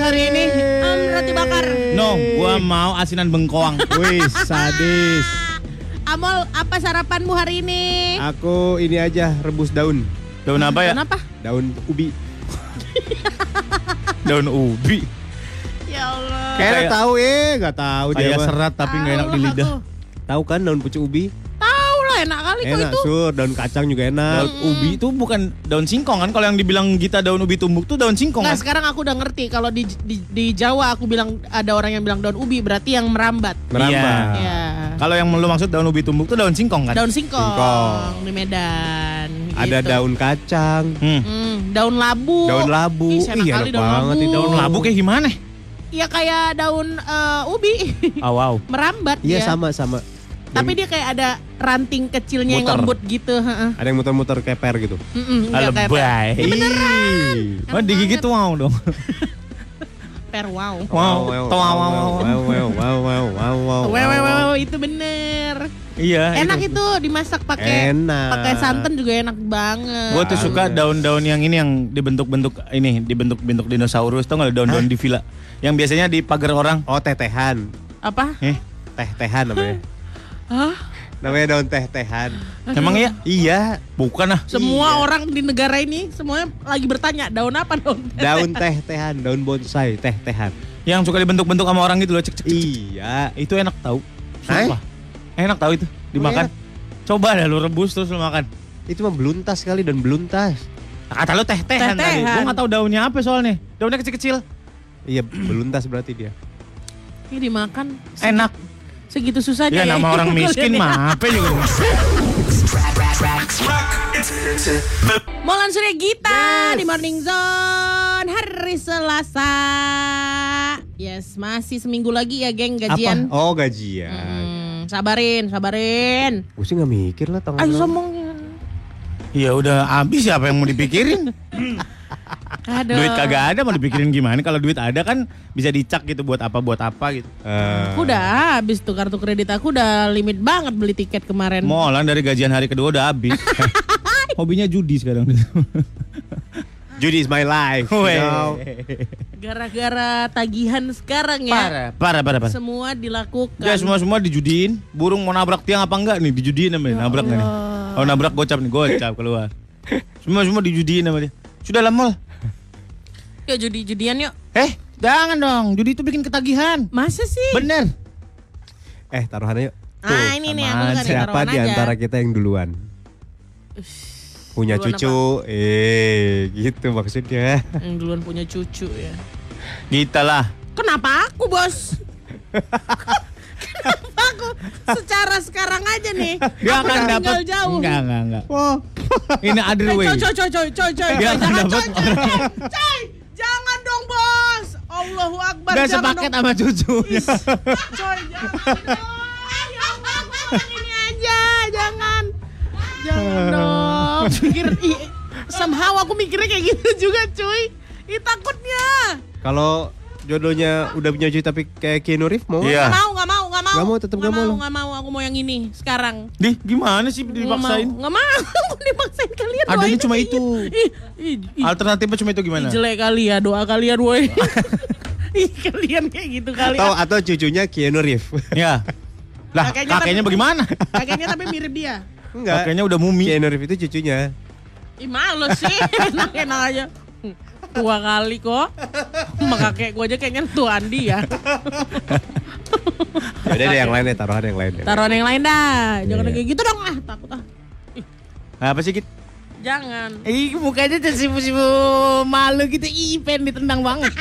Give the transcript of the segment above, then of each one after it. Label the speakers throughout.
Speaker 1: hari ini?
Speaker 2: Em, roti bakar.
Speaker 1: No, gua mau asinan bengkoang.
Speaker 3: Wih, sadis.
Speaker 2: Amol, apa sarapanmu hari ini?
Speaker 3: Aku ini aja Ya, rebus daun.
Speaker 1: Daun apa ya?
Speaker 2: Kenapa?
Speaker 3: Daun ubi.
Speaker 1: Daun ubi.
Speaker 2: Ya Allah.
Speaker 3: Kayaknya
Speaker 1: Kayak-
Speaker 3: tahu ya, nggak tahu dia.
Speaker 1: Kayak
Speaker 3: mah.
Speaker 1: serat Iya, tapi nggak enak di
Speaker 2: Allah,
Speaker 1: lidah.
Speaker 2: aku.
Speaker 3: Tahu kan daun pucuk ubi?
Speaker 2: Tahu lah enak kali kok
Speaker 3: Enak
Speaker 2: itu.
Speaker 3: sur, daun kacang juga
Speaker 1: Daun
Speaker 3: enak.
Speaker 1: ubi itu bukan daun singkong kan? Kalau yang dibilang Gita daun ubi tumbuk tuh daun singkong
Speaker 2: Nah
Speaker 1: kan?
Speaker 2: sekarang aku udah ngerti kalau di, di di Jawa aku bilang ada orang yang bilang daun ubi berarti yang merambat.
Speaker 1: Iya.
Speaker 3: Merambah.
Speaker 2: Ya.
Speaker 1: Kalau yang lu maksud daun ubi tumbuk tuh daun singkong kan?
Speaker 2: Daun singkong,
Speaker 3: Singkong.
Speaker 2: di Medan.
Speaker 3: Ada
Speaker 2: gitu.
Speaker 3: daun kacang,
Speaker 1: Hmm.
Speaker 2: Hmm, daun labu.
Speaker 3: daun labu.
Speaker 2: Ih, enak kali daun labu.
Speaker 3: itu.
Speaker 1: Daun labu kayak gitu. gimana?
Speaker 2: Ya kayak daun eh, ubi
Speaker 1: Oh, wow.
Speaker 2: merambat
Speaker 3: Iya
Speaker 2: ya.
Speaker 3: sama sama.
Speaker 2: Tapi dia kayak ada ranting kecilnya yang
Speaker 1: Muter.
Speaker 2: lembut gitu. heeh.
Speaker 3: ada yang muter-muter keper gitu.
Speaker 2: Mm-mm, nggak kayak per-
Speaker 1: Lebay.
Speaker 3: Beneran.
Speaker 1: Oh, digigit wow dong.
Speaker 2: per wow.
Speaker 1: Wow, wow, wow, wow.
Speaker 3: wow, wow, wow, wow, wow,
Speaker 2: Wow, wow,
Speaker 3: Oh, wow, Nah,
Speaker 2: wow, wow, itu bener.
Speaker 1: Iya.
Speaker 2: Enak itu dimasak pakai
Speaker 3: Enak.
Speaker 2: pakai santan juga enak banget.
Speaker 1: Gue tuh suka daun-daun yang ini yang dibentuk-bentuk ini dibentuk-bentuk dinosaurus tau gak lu, daun-daun di villa yang biasanya di pagar orang.
Speaker 3: Oh, tetehan.
Speaker 2: Apa?
Speaker 1: Eh,
Speaker 3: Teh-tehan namanya.
Speaker 2: Hah?
Speaker 3: namanya daun teh-tehan.
Speaker 1: emang iya?
Speaker 3: Iya,
Speaker 1: Bukan ah.
Speaker 2: Semua orang di negara ini semuanya lagi bertanya daun apa daun?
Speaker 3: daun teh-tehan, daun bonsai, teh-tehan.
Speaker 1: Yang suka dibentuk-bentuk sama orang gitu loh cek cek. cek.
Speaker 3: Iya.
Speaker 1: Itu enak tau. Sumpah. Oh, Enak tau itu dimakan. Coba dah lu rebus terus lu makan.
Speaker 3: Itu mah beluntas kali dan beluntas.
Speaker 1: Kata lu teh-tehan tadi.
Speaker 2: Teh-tehan.
Speaker 1: Gue gak tau daunnya apa soalnya. Daunnya kecil-kecil.
Speaker 3: Iya, beluntas berarti dia.
Speaker 2: Ini dimakan
Speaker 1: Enak.
Speaker 2: segitu susahnya.
Speaker 1: Ya nama orang miskin mah apa juga.
Speaker 2: Molan Surya ya, Gita di Morning Zone hari Selasa. Yes, masih seminggu lagi ya geng gajian.
Speaker 3: Apa? Oh, gajian.
Speaker 2: Hmm, sabarin, sabarin.
Speaker 3: Gue sih gak mikir lah tangan.
Speaker 2: Ayo
Speaker 3: lo.
Speaker 2: sombong.
Speaker 1: Ya udah habis siapa yang mau dipikirin?
Speaker 2: Aduh.
Speaker 1: Duit kagak ada mau dipikirin gimana? Kalau duit ada kan bisa dicak gitu buat apa buat apa gitu.
Speaker 3: Eh,
Speaker 2: Aku udah habis tuh kartu kredit aku udah limit banget beli tiket kemarin.
Speaker 1: Molan dari gajian hari kedua udah habis. Hobinya judi sekarang.
Speaker 3: Judy is my life. you
Speaker 1: Weh.
Speaker 3: know.
Speaker 2: Gara-gara tagihan sekarang ya.
Speaker 1: Parah, parah, parah, parah.
Speaker 2: Semua dilakukan.
Speaker 1: Udah semua semua dijudiin. Burung mau nabrak tiang apa enggak nih? Dijudiin
Speaker 2: Ya
Speaker 1: namanya. nabrak nggak nih? Oh nabrak gocap nih, gocap keluar. Semua semua dijudiin sama dia. Sudah lah mol.
Speaker 2: Yuk judi-judian yuk.
Speaker 1: Eh, jangan dong. Judi itu bikin ketagihan.
Speaker 2: Masa sih?
Speaker 1: Bener.
Speaker 3: Eh, taruhannya yuk.
Speaker 2: ah ini nih aku suka nih,
Speaker 3: Siapa
Speaker 2: taruhan
Speaker 3: di
Speaker 2: aja.
Speaker 3: antara kita yang duluan? Punya
Speaker 2: duluan
Speaker 3: cucu. Eh, gitu maksudnya.
Speaker 2: Yang Hmm, duluan punya cucu ya.
Speaker 1: Kita Gitu lah.
Speaker 2: Kenapa aku bos? Kenapa aku secara sekarang aja nih?
Speaker 1: Dia
Speaker 2: aku
Speaker 1: akan
Speaker 2: tinggal
Speaker 1: dapat.
Speaker 2: jauh.
Speaker 1: Enggak, enggak, enggak.
Speaker 3: Wow.
Speaker 1: Ini other
Speaker 2: Eh,
Speaker 1: way.
Speaker 2: coy, coy, coy, coy, coy, coy, coy,
Speaker 1: Dia akan
Speaker 2: jangan,
Speaker 1: dapat
Speaker 2: coy, coy, coy, coy, jangan dong bos. Allahu Akbar,
Speaker 1: Enggak
Speaker 2: jangan
Speaker 1: sepaket
Speaker 2: dong.
Speaker 1: sama Ya. cucunya.
Speaker 2: Is, coy, jangan dong. Ya Allah, gua pengen ini aja, jangan. Jangan dong. Pikir, i- somehow aku mikirnya kayak gitu juga cuy. Ih takutnya.
Speaker 3: Kalau jodohnya udah punya cucu tapi kayak Keanu Reeves mau?
Speaker 2: Gak
Speaker 1: Iya.
Speaker 2: mau, gak mau, gak mau.
Speaker 3: Gak mau, tetep gak mau lo.
Speaker 2: Gak mau, aku mau yang ini sekarang.
Speaker 1: Dih, gimana sih
Speaker 2: Nggak
Speaker 1: dipaksain?
Speaker 2: Mau. Gak mau, aku dipaksain kalian
Speaker 1: Adanya
Speaker 2: doain
Speaker 1: cuma
Speaker 2: aja.
Speaker 1: itu.
Speaker 2: Ih, ih, ih,
Speaker 1: Alternatifnya cuma itu gimana?
Speaker 2: jelek kali ya doa kalian woi. Ih, kalian kayak gitu kali.
Speaker 3: Atau atau cucunya Keanu Reeves?
Speaker 1: Ya. Lah,
Speaker 2: Kakeknya kan-
Speaker 1: kakeknya bagaimana?
Speaker 2: Kakeknya tapi mirip dia.
Speaker 3: Enggak. Iya.
Speaker 1: Kakeknya udah mumi.
Speaker 3: Keanu Reeves itu cucunya.
Speaker 2: Ih malu sih, enak-enak aja. Tua kali kok. Sama kakek gue aja kayaknya tuaan dia.
Speaker 3: Ya udah deh yang lain deh, taruhan yang lain. deh.
Speaker 2: Taruhan yang lain dah. Jangan
Speaker 3: Iya.
Speaker 2: kayak gitu dong ah, takut ah.
Speaker 1: Apa sih, Kit?
Speaker 2: Jangan.
Speaker 1: Ih, mukanya tersipu-sipu malu gitu. Ih, pengen ditendang banget.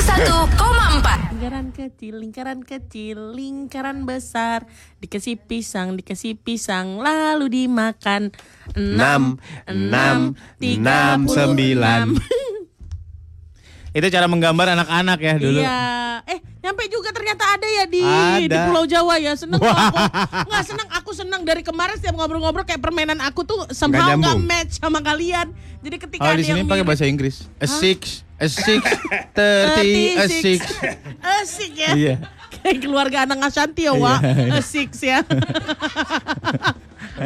Speaker 4: 101,4
Speaker 2: Lingkaran kecil, lingkaran kecil, lingkaran besar. Dikasih pisang, dikasih pisang, lalu dimakan.
Speaker 3: Enam, enam, enam,
Speaker 2: Iya.
Speaker 3: sembilan.
Speaker 1: Itu cara menggambar anak-anak ya dulu.
Speaker 2: Iya. Eh, nyampe juga ternyata ada ya di di
Speaker 3: Ada.
Speaker 2: Pulau Jawa ya. Seneng loh aku. Nggak seneng, aku seneng dari kemarin setiap ngobrol-ngobrol kayak permainan aku tuh somehow nggak
Speaker 3: nyambung.
Speaker 2: match sama kalian. Jadi ketika
Speaker 1: Kalau
Speaker 2: ada
Speaker 1: di sini
Speaker 2: yang
Speaker 1: pakai
Speaker 2: mirip-
Speaker 1: bahasa Inggris. A six, a six, thirty, a six.
Speaker 2: Asik ya.
Speaker 1: Iya.
Speaker 2: Kayak keluarga anak Ashanti ya, Wak.
Speaker 1: Iya, iya.
Speaker 2: Asik ya.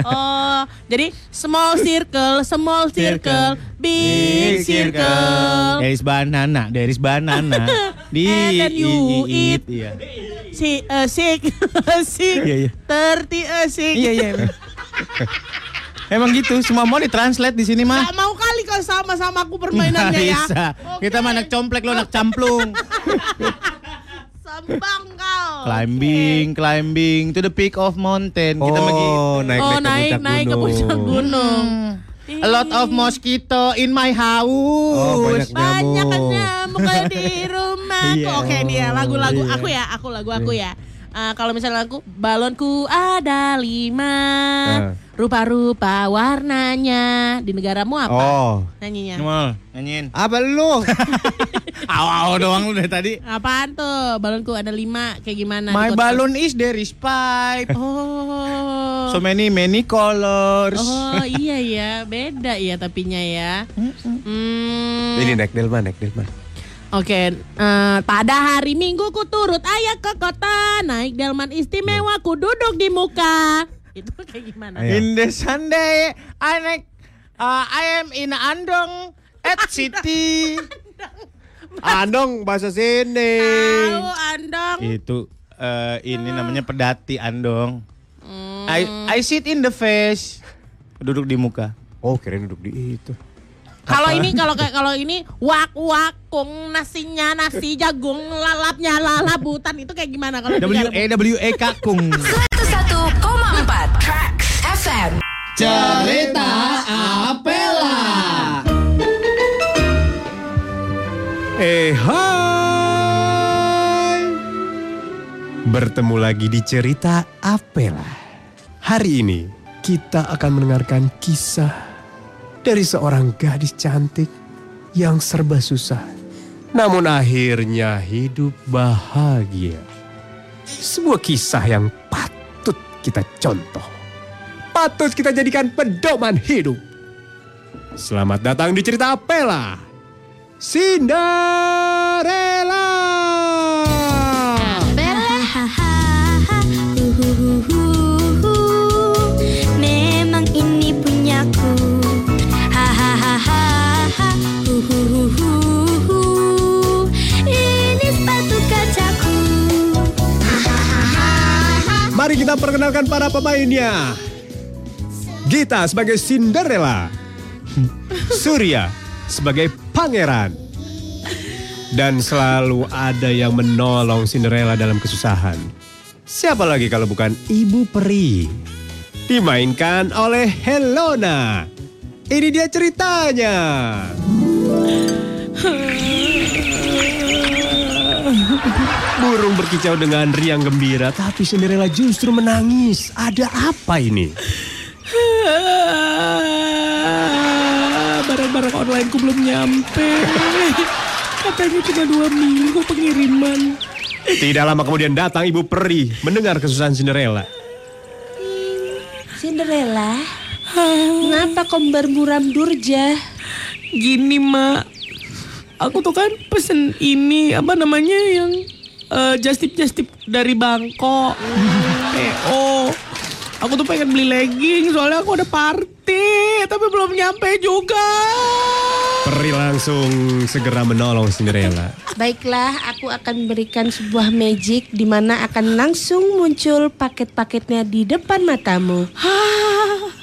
Speaker 2: Oh, jadi small circle, small circle, big circle.
Speaker 1: kan. There is banana, there is banana. Di
Speaker 2: And then you
Speaker 1: i- i-
Speaker 2: eat.
Speaker 1: Iya.
Speaker 2: Si a sick, a sick,
Speaker 1: Iya, iya.
Speaker 2: thirty eh, a sick.
Speaker 1: Iya, iya. emang. Emang gitu, semua mau ditranslate di sini mah.
Speaker 2: Gak mau kali kau sama sama aku permainannya
Speaker 1: Nggak
Speaker 2: ya.
Speaker 1: bisa. Kita
Speaker 2: Oke.
Speaker 1: mah anak complek lo anak camplung.
Speaker 2: Sembang kau.
Speaker 1: climbing, climbing to the peak of mountain. Kita mah gitu.
Speaker 5: Oh, naik,
Speaker 2: oh naik naik ke puncak gunung.
Speaker 1: A lot of mosquito in my house.
Speaker 5: Oh, banyak
Speaker 2: Banyak kan
Speaker 5: nyamuk.
Speaker 2: nyamuk kalau di rumah.
Speaker 1: Iya.
Speaker 2: Oke nih ya lagu-lagu
Speaker 5: Iya.
Speaker 2: aku ya, aku lagu aku ya. Eh, kalau misalnya aku balonku ada lima,
Speaker 1: Eh.
Speaker 5: Ah.
Speaker 2: rupa-rupa warnanya. Di negaramu apa
Speaker 5: Oh.
Speaker 2: nyanyinya?
Speaker 1: Nyemal, nyanyiin.
Speaker 5: Apa lu?
Speaker 1: Aw-aw doang lu dari tadi.
Speaker 2: Apaan tuh? Balonku ada lima, kayak gimana?
Speaker 1: My
Speaker 2: Ikut-
Speaker 1: balloon is there is pipe.
Speaker 2: Oh.
Speaker 1: So many many colors.
Speaker 2: Oh iya ya, beda ya tapinya ya. Hmm.
Speaker 5: Ini naik delman, naik delman.
Speaker 2: Oke, eh, pada hari Minggu ku turut ayah ke kota, naik delman istimewa ku duduk di muka. Itu kayak gimana?
Speaker 5: Ayo.
Speaker 1: In the Sunday, I like, uh, I am in Andong at city.
Speaker 5: Andong bahasa sini.
Speaker 2: Tahu Andong?
Speaker 1: Itu eh, ini namanya pedati Andong.
Speaker 2: Hmm.
Speaker 1: I I sit in the face. Duduk di muka.
Speaker 5: Oh, keren duduk di itu.
Speaker 2: Kalau ini kalau kayak kalau ini wak wakung nasinya nasi jagung lalapnya lalabutan itu kayak gimana kalau di
Speaker 1: W
Speaker 2: dalam?
Speaker 1: E W E kakung.
Speaker 6: 101,4 Tracks FM
Speaker 1: Cerita Apela.
Speaker 5: Eh, hai. Bertemu lagi di cerita Apela. Hari ini kita akan mendengarkan kisah dari seorang gadis cantik yang serba susah. Namun akhirnya hidup bahagia. Sebuah kisah yang patut kita contoh. Patut kita jadikan pedoman hidup. Selamat datang di cerita Apela. Cinderella.
Speaker 7: Hahaha, uhuhuhuhu. Memang ini punyaku. Hahaha, uhuhuhuhu. Ini sepatu kacaku.
Speaker 5: Mari kita perkenalkan para pemainnya. Gita sebagai Cinderella. Surya sebagai pangeran. Dan selalu ada yang menolong Cinderella dalam kesusahan. Siapa lagi kalau bukan Ibu Peri? Dimainkan oleh Helona. Ini dia ceritanya. Burung berkicau dengan riang gembira, tapi Cinderella justru menangis. Ada apa ini?
Speaker 8: barang-barang onlineku belum nyampe. Katanya cuma dua minggu pengiriman.
Speaker 5: Tidak lama kemudian datang Ibu Peri mendengar kesusahan Cinderella.
Speaker 6: Cinderella Kenapa kau bermuram durja?
Speaker 8: Gini, Mak. Aku tuh kan pesen ini, apa namanya yang eh, jastip-jastip dari Bangkok. PO. Aku tuh pengen beli legging soalnya aku ada party, tapi belum nyampe juga.
Speaker 5: Peri langsung segera menolong Cinderella.
Speaker 6: Baiklah, aku akan berikan sebuah magic di mana akan langsung muncul paket-paketnya di depan matamu.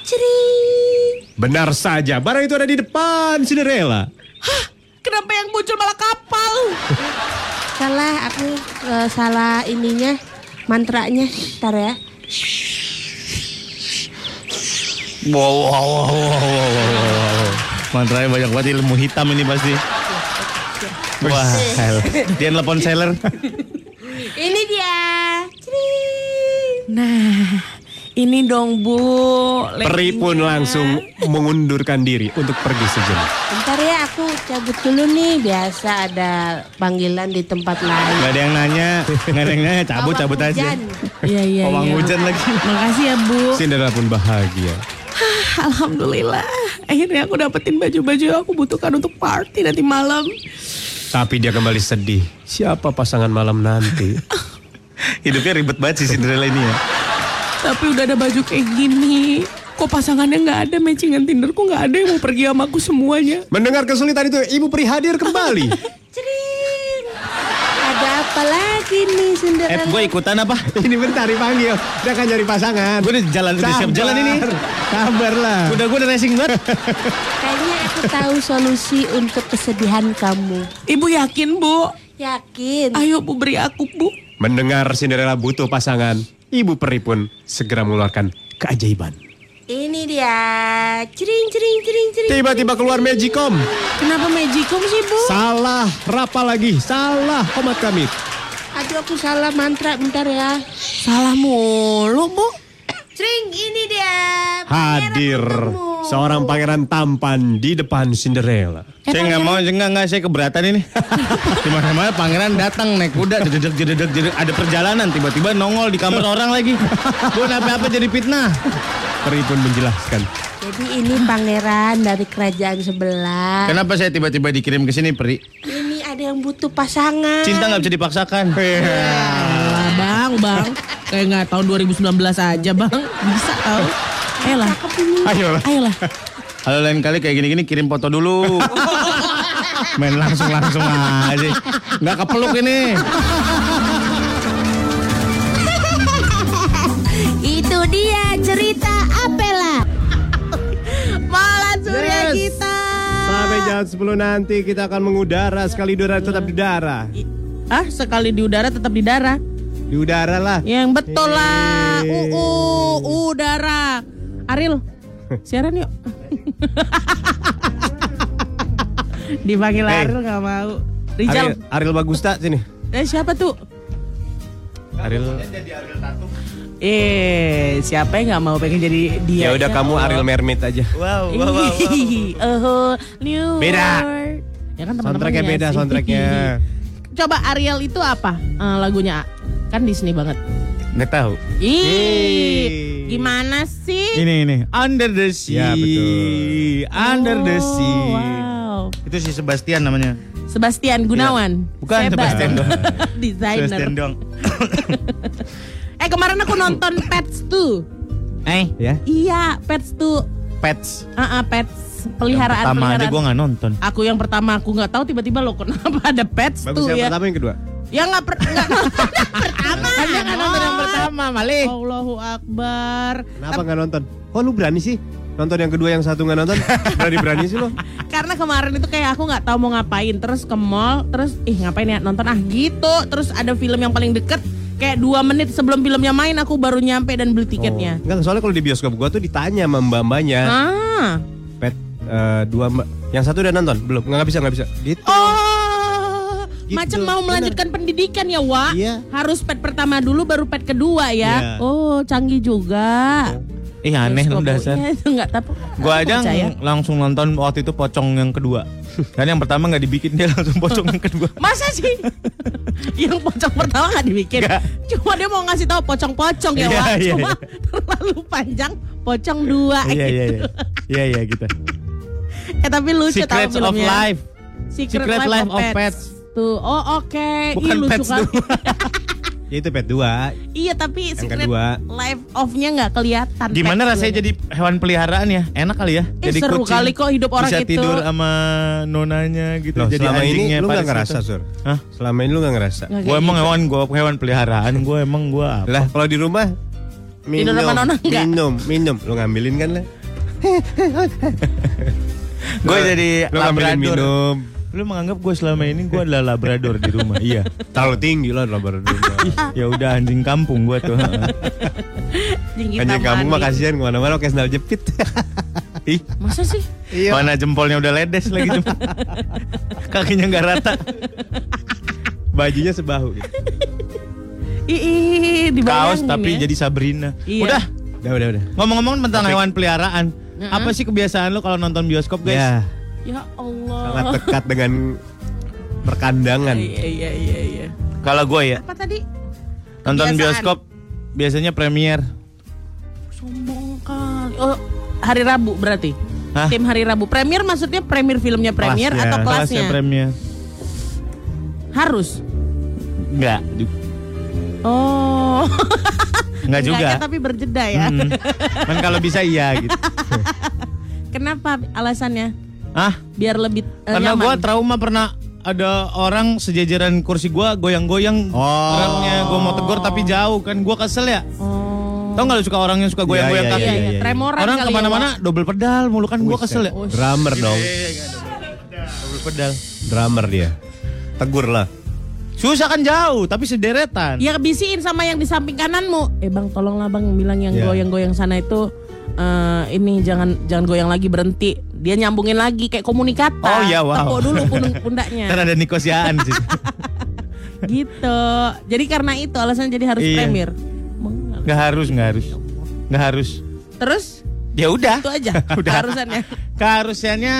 Speaker 6: Cering.
Speaker 5: Benar saja, barang itu ada di depan Cinderella.
Speaker 2: Kenapa yang muncul malah kapal?
Speaker 6: Salah, aku eh, salah ininya, mantranya. Ntar ya.
Speaker 1: Wow, wow, wow, wow, wow, wow, wow. Mantranya banyak banget ilmu hitam ini pasti. Wah, hell. dia telepon seller.
Speaker 6: Ini dia. Cering.
Speaker 8: Nah, ini dong, Bu.
Speaker 5: Peri pun langsung mengundurkan diri untuk pergi sejenak.
Speaker 6: Bentar ya, aku cabut dulu nih. Biasa ada panggilan di tempat lain.
Speaker 1: Gak ada yang nanya, gak ada yang nanya, cabut cabut
Speaker 6: Bawang
Speaker 1: aja.
Speaker 6: hujan.
Speaker 8: Iya, iya,
Speaker 1: Pawang
Speaker 8: iya.
Speaker 1: hujan lagi.
Speaker 8: Makasih ya, Bu. Ah,
Speaker 5: Cinderella pun bahagia.
Speaker 8: Alhamdulillah, akhirnya aku dapetin baju-baju yang aku butuhkan untuk party nanti malam.
Speaker 5: Tapi dia kembali sedih. Siapa pasangan malam nanti?
Speaker 1: Hidupnya ribet banget sih Cinderella ini ya.
Speaker 8: Tapi udah ada baju kayak gini. Kok pasangannya nggak ada matchingan Tinder? Kok nggak ada yang mau pergi sama aku semuanya?
Speaker 5: Mendengar kesulitan itu, Ibu Pri hadir kembali.
Speaker 6: Cering. Ada apa lagi nih
Speaker 1: Eh,
Speaker 6: Cinderella?
Speaker 1: gue ikutan apa?
Speaker 5: ini bentar dipanggil, dia akan cari pasangan.
Speaker 1: Gue udah jalan, udah siap jalan ini.
Speaker 5: Kabarlah.
Speaker 1: Udah gue udah racing banget.
Speaker 6: Kayaknya aku tahu solusi untuk kesedihan kamu.
Speaker 8: Ibu yakin, Bu?
Speaker 6: Yakin?
Speaker 8: Ayo, Bu, beri aku, Bu.
Speaker 5: Mendengar Cinderella butuh pasangan, Ibu Peri pun segera mengeluarkan keajaiban.
Speaker 6: Ini dia. Cering cering cering cering.
Speaker 5: Tiba-tiba keluar Magicom.
Speaker 2: Kenapa magicom sih bu?
Speaker 5: Salah, rapa lagi. Salah, komat kami.
Speaker 6: Aduh aku salah mantra bentar ya.
Speaker 2: Salah mulu bu.
Speaker 6: Cering ini dia.
Speaker 5: Hadir seorang pangeran tampan di depan Cinderella.
Speaker 1: saya nggak mau, saya nggak nggak, saya keberatan ini. Di mana pangeran datang naik kuda, jededek jededek jededek, ada perjalanan tiba-tiba nongol di kamar orang lagi. Gue apa-apa jadi fitnah.
Speaker 5: Peri pun menjelaskan.
Speaker 6: Jadi ini pangeran dari kerajaan sebelah.
Speaker 1: Kenapa saya tiba-tiba dikirim ke sini, Pri?
Speaker 6: Ini ada yang butuh pasangan.
Speaker 1: Cinta nggak bisa dipaksakan.
Speaker 5: Iya.
Speaker 8: Alah, bang, bang. Kayak nggak tahun 2019 aja, bang. Bisa tau. Ayolah.
Speaker 5: Ayolah.
Speaker 8: Ayolah.
Speaker 1: Kalau lain kali kayak gini-gini kirim foto dulu. Main langsung-langsung aja. Nggak kepeluk ini.
Speaker 7: Itu dia cerita Apela.
Speaker 2: Malah surya
Speaker 5: Yes.
Speaker 2: kita.
Speaker 5: Sampai jam 10 nanti kita akan mengudara sekali di udara tetap di udara.
Speaker 2: Ah sekali di udara tetap di darah.
Speaker 5: Di udara lah.
Speaker 2: Yang betul lah. Uu udara. Aril siaran yuk. Dipanggil
Speaker 5: Hey.
Speaker 2: Aril nggak mau. Rijal.
Speaker 5: Ariel, Ariel Bagusta sini.
Speaker 2: Eh siapa tuh?
Speaker 5: Ariel.
Speaker 2: Eh siapa yang nggak mau pengen jadi dia?
Speaker 5: Ya udah kamu Ariel Mermaid aja.
Speaker 1: Wow,
Speaker 2: Oh, new
Speaker 5: Beda.
Speaker 2: world. Ya kan teman-teman
Speaker 5: Soundtracknya
Speaker 2: ya
Speaker 5: beda
Speaker 2: sih.
Speaker 5: soundtracknya.
Speaker 2: Coba Ariel itu apa eh, lagunya? Kan Disney banget.
Speaker 1: Nggak tahu.
Speaker 2: Ih, gimana sih?
Speaker 1: Ini ini Under the Sea.
Speaker 5: Ya, betul.
Speaker 1: Under the
Speaker 2: Oh,
Speaker 1: Sea.
Speaker 2: Wow.
Speaker 1: Itu si Sebastian namanya.
Speaker 2: Sebastian Gunawan.
Speaker 1: Iya. Bukan
Speaker 2: Hebat.
Speaker 1: Sebastian dong.
Speaker 2: Desainer.
Speaker 1: Sebastian dong.
Speaker 2: Eh kemarin aku nonton Pets 2.
Speaker 1: Eh,
Speaker 5: Ya.
Speaker 2: Iya, Pets 2.
Speaker 1: pets.
Speaker 2: Ah, ah, Pets
Speaker 1: Yang
Speaker 2: peliharaan
Speaker 1: Pertama aja
Speaker 2: peliharaan.
Speaker 1: gue nggak nonton.
Speaker 2: Aku yang pertama aku nggak tahu tiba-tiba lo kenapa ada Pets
Speaker 5: Bagus
Speaker 2: 2
Speaker 5: yang
Speaker 2: ya.
Speaker 5: pertama yang kedua.
Speaker 2: Ya nggak per nggak nonton yang pertama.
Speaker 1: Anda Kan nggak nonton yang pertama, Malik.
Speaker 2: Allahu Akbar.
Speaker 5: Kenapa nggak nonton? Kok lu berani sih? Nonton yang kedua yang satu nggak nonton? Berani-berani sih lo.
Speaker 2: Karena kemarin itu kayak aku nggak tahu mau ngapain, terus ke mall, terus ih ngapain ya nonton ah gitu, terus ada film yang paling deket kayak dua menit sebelum filmnya main aku baru nyampe dan beli tiketnya.
Speaker 5: Enggak, Oh. soalnya kalau di bioskop gua tuh ditanya sama
Speaker 1: Oh.
Speaker 5: mbak-mbaknya.
Speaker 2: Ah,
Speaker 1: Gitu.
Speaker 5: Pet eh, dua mbak. Yang satu udah nonton? Belum. Enggak bisa, nggak bisa. Gitu.
Speaker 2: oh
Speaker 5: Gitu,
Speaker 2: macam mau
Speaker 5: benar.
Speaker 2: melanjutkan pendidikan ya Wak
Speaker 5: Iya.
Speaker 2: Harus pet pertama dulu baru pet kedua ya.
Speaker 1: Iya.
Speaker 2: Oh canggih juga.
Speaker 1: Ih aneh lu dasar.
Speaker 2: Iya, itu nggak tahu. aku
Speaker 1: Gue aja
Speaker 2: percaya.
Speaker 1: ng- langsung nonton waktu itu pocong yang kedua. Karena yang pertama nggak dibikin dia langsung pocong yang kedua.
Speaker 2: Masa sih? yang pocong pertama nggak dibikin. Cuma dia mau ngasih tahu pocong-pocong ya,
Speaker 1: Iya,
Speaker 2: Wak.
Speaker 1: iya,
Speaker 2: Cuma terlalu panjang pocong dua
Speaker 1: Iya
Speaker 2: gitu.
Speaker 1: iya iya. Iya iya gitu.
Speaker 2: Eh tapi lucu tau
Speaker 1: Secrets of
Speaker 2: filmnya.
Speaker 1: Life.
Speaker 2: Secret,
Speaker 1: Secret
Speaker 2: Life,
Speaker 1: Life
Speaker 2: of
Speaker 1: of
Speaker 2: Pets.
Speaker 1: Pets.
Speaker 2: Tuh, oh oke.
Speaker 1: Bukan
Speaker 2: Ih, lucu
Speaker 1: Pets
Speaker 2: banget.
Speaker 1: dua.
Speaker 5: Ya itu pet dua.
Speaker 2: iya, tapi Secret
Speaker 5: kedua.
Speaker 2: Life of-nya nggak kelihatan.
Speaker 1: Gimana
Speaker 2: Pets
Speaker 1: rasanya
Speaker 2: duanya.
Speaker 1: jadi hewan peliharaan ya? Enak kali ya?
Speaker 2: Eh,
Speaker 1: jadi
Speaker 2: seru kali kok hidup orang
Speaker 1: bisa
Speaker 2: itu.
Speaker 1: tidur sama nonanya gitu.
Speaker 5: Loh,
Speaker 1: jadi
Speaker 5: selama ini
Speaker 1: anjingnya
Speaker 5: lu nggak
Speaker 1: Paris
Speaker 5: ngerasa,
Speaker 1: Hilton.
Speaker 5: Sur?
Speaker 1: Hah?
Speaker 5: Selama ini lu nggak ngerasa?
Speaker 2: Nggak
Speaker 1: Gue
Speaker 2: kayak
Speaker 1: emang
Speaker 2: gitu.
Speaker 1: hewan, gue hewan peliharaan, gue emang gue apa?
Speaker 5: Lah, kalau di rumah minum,
Speaker 2: Tidur sama Nono nggak?
Speaker 5: minum, minum. Lu ngambilin kan lah.
Speaker 1: Gue jadi
Speaker 5: lu ngambilin
Speaker 1: labrador.
Speaker 5: minum.
Speaker 1: Lu menganggap gue selama ini gue adalah labrador di rumah? Iya.
Speaker 5: Terlalu tinggi lah labrador. Ih,
Speaker 1: Ya udah anjing kampung gue tuh.
Speaker 2: Tinggi
Speaker 5: Anjing kamu
Speaker 2: tamani.
Speaker 5: mah kasihan kemana-mana pakai sandal jepit.
Speaker 1: Ih,
Speaker 2: Masa sih?
Speaker 1: Mana jempolnya udah ledes lagi jempol. Kakinya nggak rata.
Speaker 5: Bajunya sebahu. gitu.
Speaker 2: Ih, Ih, dibayangin
Speaker 1: Kaos tapi
Speaker 2: ya.
Speaker 1: jadi Sabrina.
Speaker 2: Iya.
Speaker 1: Udah,
Speaker 5: Udah, udah, udah.
Speaker 1: ngomong-ngomong tentang hewan peliharaan. Apa sih kebiasaan lu kalau nonton bioskop, guys?
Speaker 5: Ya,
Speaker 2: Ya Allah.
Speaker 5: sangat dekat dengan perkandangan.
Speaker 2: Iya, iya, iya, iya.
Speaker 1: Kalau gue ya,
Speaker 2: Apa tadi?
Speaker 1: nonton
Speaker 2: Kebiasaan.
Speaker 1: bioskop biasanya premier.
Speaker 2: Sombong kali. Oh, hari Rabu berarti.
Speaker 1: Hah?
Speaker 2: Tim hari Rabu. Premier maksudnya premier filmnya premier
Speaker 5: Kelasnya.
Speaker 2: atau kelasnya?
Speaker 1: Kelasnya premier.
Speaker 2: Harus.
Speaker 1: Enggak.
Speaker 2: Oh.
Speaker 1: Enggak juga. Hmm.
Speaker 2: Enggaknya tapi berjeda ya.
Speaker 1: Mm-mm. Cuman kalau bisa iya gitu.
Speaker 2: Kenapa alasannya?
Speaker 1: Ah,
Speaker 2: Biar lebih eh,
Speaker 1: karena
Speaker 2: nyaman.
Speaker 1: gua trauma pernah ada orang sejajaran kursi gua goyang-goyang.
Speaker 5: Oh.
Speaker 1: Orangnya gua mau tegur tapi jauh kan gua kesel ya. Tau gak lu suka orang yang suka goyang-goyang
Speaker 5: iya,
Speaker 1: kaki?
Speaker 2: Oh. Iya,
Speaker 5: Iya,
Speaker 2: iya,
Speaker 5: iya.
Speaker 2: tremoran
Speaker 1: Orang
Speaker 2: kali ya,
Speaker 1: kemana-mana double pedal mulu kan gua kesel ya.
Speaker 5: Drummer dong.
Speaker 1: Double pedal.
Speaker 5: Drummer dia. Tegur lah.
Speaker 1: Susah kan jauh tapi sederetan.
Speaker 2: Ya bisiin sama yang di samping kananmu. Eh bang, tolonglah bang yang bilang yang
Speaker 5: Iya.
Speaker 2: goyang-goyang sana itu eh, ini jangan jangan goyang lagi berhenti. Dia nyambungin lagi kayak komunikator.
Speaker 1: Oh, iya, wow.
Speaker 2: Tepuk dulu pundung- pundaknya.
Speaker 1: Kan ada nikosiaan sih.
Speaker 2: gitu. Jadi karena itu alasan jadi harus
Speaker 1: Iya.
Speaker 2: premier. Mengal-
Speaker 1: Gak harus, gak harus. Gak harus.
Speaker 2: Terus
Speaker 1: Ya udah.
Speaker 2: itu aja
Speaker 1: Udah.
Speaker 2: keharusannya.
Speaker 1: Keharusannya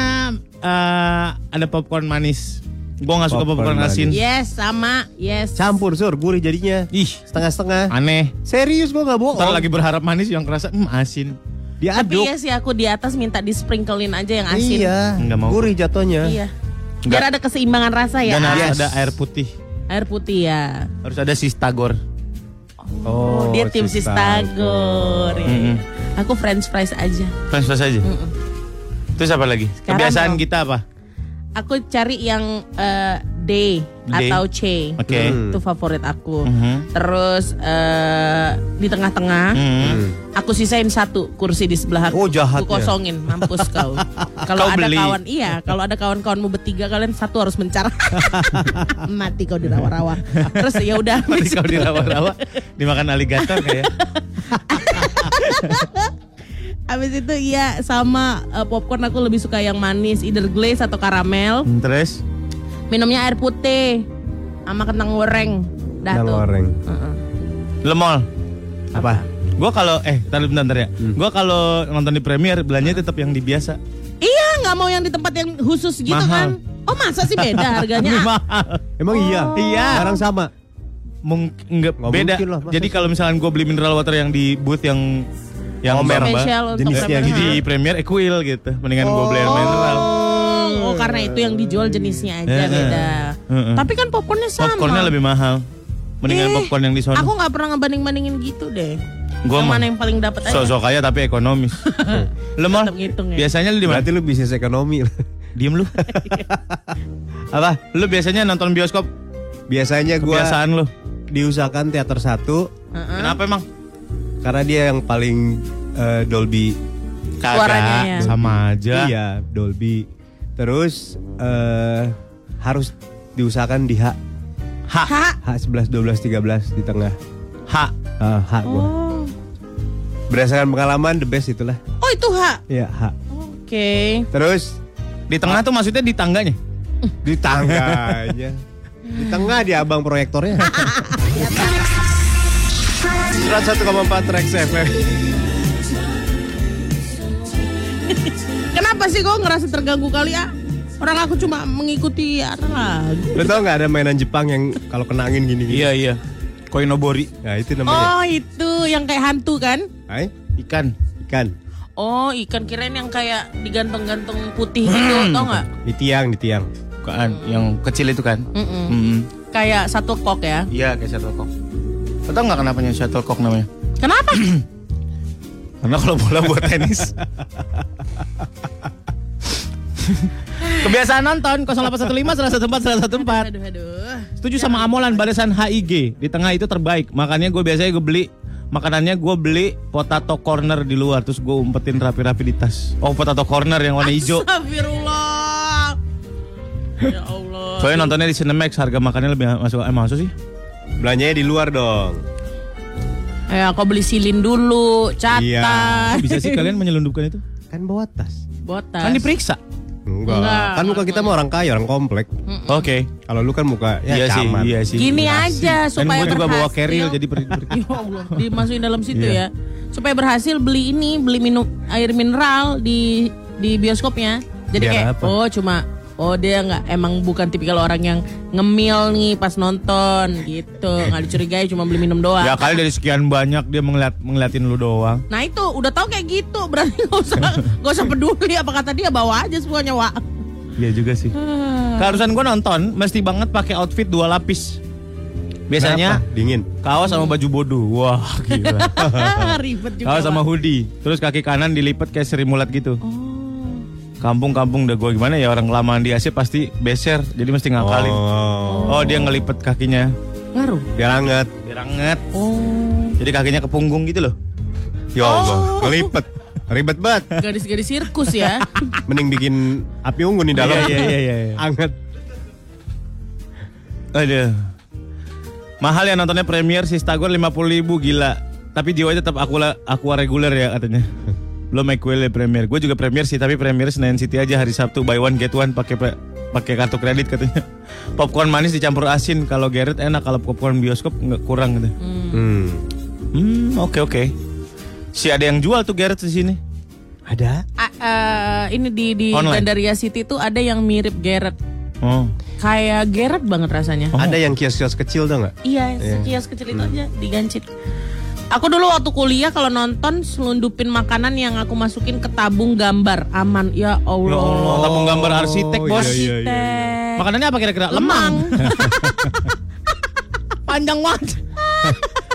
Speaker 1: eh, ada popcorn manis. Gua nggak suka popcorn,
Speaker 5: Popcorn
Speaker 1: asin.
Speaker 2: Yes, sama. Yes.
Speaker 5: Campur sur, gurih jadinya.
Speaker 1: Ih,
Speaker 5: Setengah-setengah.
Speaker 1: aneh.
Speaker 5: Serius gua nggak bohong.
Speaker 1: Ntar lagi berharap manis yang kerasa hmm, asin.
Speaker 2: Tapi
Speaker 5: Diaduk.
Speaker 2: ya sih aku di atas minta di sprinklein aja yang asin.
Speaker 5: Iya.
Speaker 1: Nggak mau.
Speaker 5: Gurih jatuhnya.
Speaker 2: Iya. Biar ada keseimbangan rasa ya.
Speaker 1: Dan harus
Speaker 5: Yes.
Speaker 1: ada air putih.
Speaker 2: Air putih ya.
Speaker 1: Iya. Harus ada sistagor.
Speaker 2: Oh, dia tim Sistagor. Iya, iya.
Speaker 1: Mm-mm.
Speaker 2: Aku French fries aja.
Speaker 1: French fries aja. Terus apa lagi?
Speaker 2: Sekarang
Speaker 1: Kebiasaan
Speaker 2: dong.
Speaker 1: kita apa?
Speaker 2: Aku cari yang eh, D,
Speaker 1: D.
Speaker 2: atau C.
Speaker 1: Oke.
Speaker 2: Itu favorit aku.
Speaker 1: Mhm.
Speaker 2: Terus eh, di tengah-tengah
Speaker 1: Hmm.
Speaker 2: aku sisain satu kursi di sebelah aku.
Speaker 5: Oh, jahatnya.
Speaker 2: Aku kosongin, mampus kau. Kalau
Speaker 1: Kau
Speaker 2: ada
Speaker 1: beli.
Speaker 2: kawan, iya, kalau ada kawan-kawanmu bertiga kalian satu harus mencar. Mati kau dirawa-rawa. Terus ya udah
Speaker 1: Tadi kalau dirawa-rawa dimakan aligator kayak. ya.
Speaker 2: Abis itu iya sama eh, popcorn aku lebih suka yang manis, either glaze atau karamel.
Speaker 1: Hmm, Terus
Speaker 2: Minumnya air putih sama kentang goreng. Dah
Speaker 5: Yang
Speaker 2: tuh.
Speaker 5: goreng.
Speaker 2: Heeh.
Speaker 1: lemol.
Speaker 5: Apa? Hmm.
Speaker 1: Gua kalau eh taruh bentar, bentar ya. Gua kalau nonton di premier belanjanya tetap yang di biasa.
Speaker 2: Iya, nggak mau yang di tempat yang khusus gitu kan?
Speaker 1: Mahal.
Speaker 2: Oh masa sih beda harganya? Ah,
Speaker 1: Mahal.
Speaker 5: Emang iya?
Speaker 1: Iya.
Speaker 5: Sekarang sama.
Speaker 1: Mungkin enggak
Speaker 5: Nggak
Speaker 1: beda.
Speaker 5: mungkin lah, masa
Speaker 1: Jadi kalau misalnya gua beli mineral water yang di booth yang yang
Speaker 5: Omer.
Speaker 1: Mbak-
Speaker 2: Spesial untuk
Speaker 1: jenis
Speaker 2: Premier,
Speaker 1: yang di
Speaker 2: ha?
Speaker 1: premier equil gitu. Mendingan gua beli air mineral.
Speaker 2: Oh, oh, karena itu yang dijual jenisnya aja
Speaker 1: Heeh.
Speaker 2: beda.
Speaker 1: Heeh.
Speaker 2: Tapi kan popcornnya sama.
Speaker 1: eh. Popcornnya lebih mahal. Mendingan
Speaker 2: Eh,
Speaker 1: popcorn yang di sono.
Speaker 2: Aku nggak pernah ngebanding-bandingin gitu deh.
Speaker 1: Gua
Speaker 2: yang
Speaker 1: mah
Speaker 2: mana yang paling dapat aja?
Speaker 1: Sosok kaya tapi ekonomis. Lemol.
Speaker 2: Tetap ngitung ya.
Speaker 1: Biasanya lu di mana?
Speaker 5: Berarti lu bisnis ekonomi.
Speaker 1: Diem lu. Apa? Lu biasanya nonton bioskop?
Speaker 5: Biasanya gua
Speaker 1: Kebiasaan lu.
Speaker 5: diusahakan teater satu
Speaker 1: Kenapa emang?
Speaker 5: karena dia yang paling eh, Dolby.
Speaker 1: Kagak.
Speaker 2: Suaranya ya.
Speaker 1: Sama aja.
Speaker 5: Iya, Dolby. Terus eh, harus diusahakan di H.
Speaker 1: Ha.
Speaker 5: H11, 12, 13 di tengah.
Speaker 1: Ha.
Speaker 5: Ah, H gua.
Speaker 2: Oh.
Speaker 5: Berdasarkan pengalaman the best itulah.
Speaker 2: oh itu ha.
Speaker 5: Iya, H.
Speaker 2: Oke.
Speaker 5: Terus
Speaker 1: Di tengah tuh maksudnya di tangganya.
Speaker 5: di tangganya. di tengah di abang proyektornya. 101,4 Trax FM.
Speaker 2: Kenapa sih kau ngerasa terganggu kali ya? Orang aku cuma mengikuti arah lagu.
Speaker 5: Lo tau gak ada mainan Jepang yang kalau kena angin gini-gini?
Speaker 1: iya. Koinobori.
Speaker 5: Nah itu
Speaker 1: Iya.
Speaker 5: namanya.
Speaker 2: Oh itu yang kayak hantu kan?
Speaker 5: Hai?
Speaker 1: Ikan.
Speaker 5: Ikan.
Speaker 2: Oh ikan kirain yang kayak digantung-gantung putih gitu
Speaker 1: Hmm.
Speaker 2: tau nggak?
Speaker 5: Di tiang, di tiang.
Speaker 1: Bukan, yang kecil itu kan?
Speaker 2: Mm-mm.
Speaker 1: Mm-mm.
Speaker 2: Kayak satu kok ya.
Speaker 1: Iya, kayak shuttlecock. Lo tau nggak kenapa shuttlecock namanya?
Speaker 2: Kenapa?
Speaker 1: Hmm. Karena kalau bola buat tenis. Kebiasaan nonton 0815 114 114.
Speaker 2: aduh aduh.
Speaker 1: Setuju
Speaker 2: Ya.
Speaker 1: sama Amolan barisan HIG di tengah itu terbaik. Makanya gue biasanya gue beli makanannya gue beli potato corner di luar terus gue umpetin rapi-rapi di tas. Oh potato corner yang warna hijau.
Speaker 2: Astagfirullah. Ya Allah.
Speaker 1: Soalnya nontonnya di Cinemax harga makannya lebih masuk eh masuk sih.
Speaker 5: Belanjanya di luar dong.
Speaker 2: Ya kau beli silin dulu, catat.
Speaker 5: Iya.
Speaker 1: Kok bisa sih kalian menyelundupkan itu?
Speaker 5: Kan bawa tas.
Speaker 2: Botas.
Speaker 1: Kan diperiksa.
Speaker 5: Enggak.
Speaker 2: Enggak.
Speaker 5: Kan muka kita mah orang kaya, orang komplek.
Speaker 1: Oke.
Speaker 5: Kalau lu kan muka ya
Speaker 1: Hmm. Iya sih,
Speaker 5: caman.
Speaker 1: iya sih.
Speaker 2: Gini aja
Speaker 1: Dan
Speaker 2: supaya
Speaker 1: gue juga bawa
Speaker 2: berhasil.
Speaker 1: keril jadi per- per-
Speaker 2: Ya Allah, dimasukin dalam situ ya. Supaya berhasil beli ini, beli minum air mineral di di bioskopnya. Jadi
Speaker 5: Biar
Speaker 2: kayak
Speaker 5: apa?
Speaker 2: oh cuma oh dia nggak emang bukan tipikal orang yang ngemil nih pas nonton gitu. nggak dicurigai cuma beli minum doang.
Speaker 1: Ya kali dari sekian banyak dia mengeliat ngeliatin lu doang.
Speaker 2: Nah itu udah tahu kayak gitu berarti nggak usah nggak usah peduli apa kata dia bawa aja semuanya wa. Hmm.
Speaker 1: Iya juga sih. Keharusan gue nonton mesti banget pakai outfit dua lapis. Biasanya
Speaker 5: Kenapa? dingin.
Speaker 1: kaos sama baju bodoh. Wah, gila.
Speaker 2: Ribet juga.
Speaker 1: kaos sama hoodie. Terus kaki kanan dilipet kayak Sri Mulat gitu. Kampung-kampung udah gue gimana ya orang lamaan di Asia pasti beser. Jadi mesti ngakalin.
Speaker 5: Oh,
Speaker 1: Oh, dia ngelipet kakinya.
Speaker 2: Ngaruh. Oh,
Speaker 5: biar anget.
Speaker 1: Biar anget. Jadi kakinya ke punggung gitu loh.
Speaker 5: Ya Allah, ngelipet. Ribet banget.
Speaker 2: Gadis-gadis sirkus ya.
Speaker 5: Mending bikin api unggun di dalam.
Speaker 1: Iya, iya, iya, iya.
Speaker 5: Anget.
Speaker 1: Aduh. Mahal ya nontonnya premier si Stagor 50 ribu gila. Tapi jiwanya tetap aku aku reguler ya katanya. Belum equal premier. Gue juga premier sih tapi premier Senayan City aja hari Sabtu buy one get one pakai pe- pakai kartu kredit katanya. Popcorn manis dicampur asin kalau Garrett enak kalau popcorn bioskop nggak kurang gitu.
Speaker 5: Hmm.
Speaker 1: Hmm, oke oke. Si ada yang jual tuh Garrett di sini.
Speaker 5: Ada?
Speaker 2: A- eh, ini di di
Speaker 1: Online.
Speaker 2: Gandaria City tuh ada yang mirip Garrett.
Speaker 1: Oh.
Speaker 2: Kayak Garrett banget rasanya.
Speaker 5: Ada yang kios-kios kecil tuh nggak?
Speaker 2: Iya, sekias kecil itu aja digancit. Aku dulu waktu kuliah kalau nonton selundupin makanan yang aku masukin ke tabung gambar aman ya
Speaker 1: Ya Allah,
Speaker 2: Allah.
Speaker 1: tabung gambar arsitek,
Speaker 5: Oh,
Speaker 1: Bos.
Speaker 5: iya, iya.
Speaker 2: Teh.
Speaker 1: Makanannya apa kira-kira?
Speaker 2: Lemang. Panjang banget.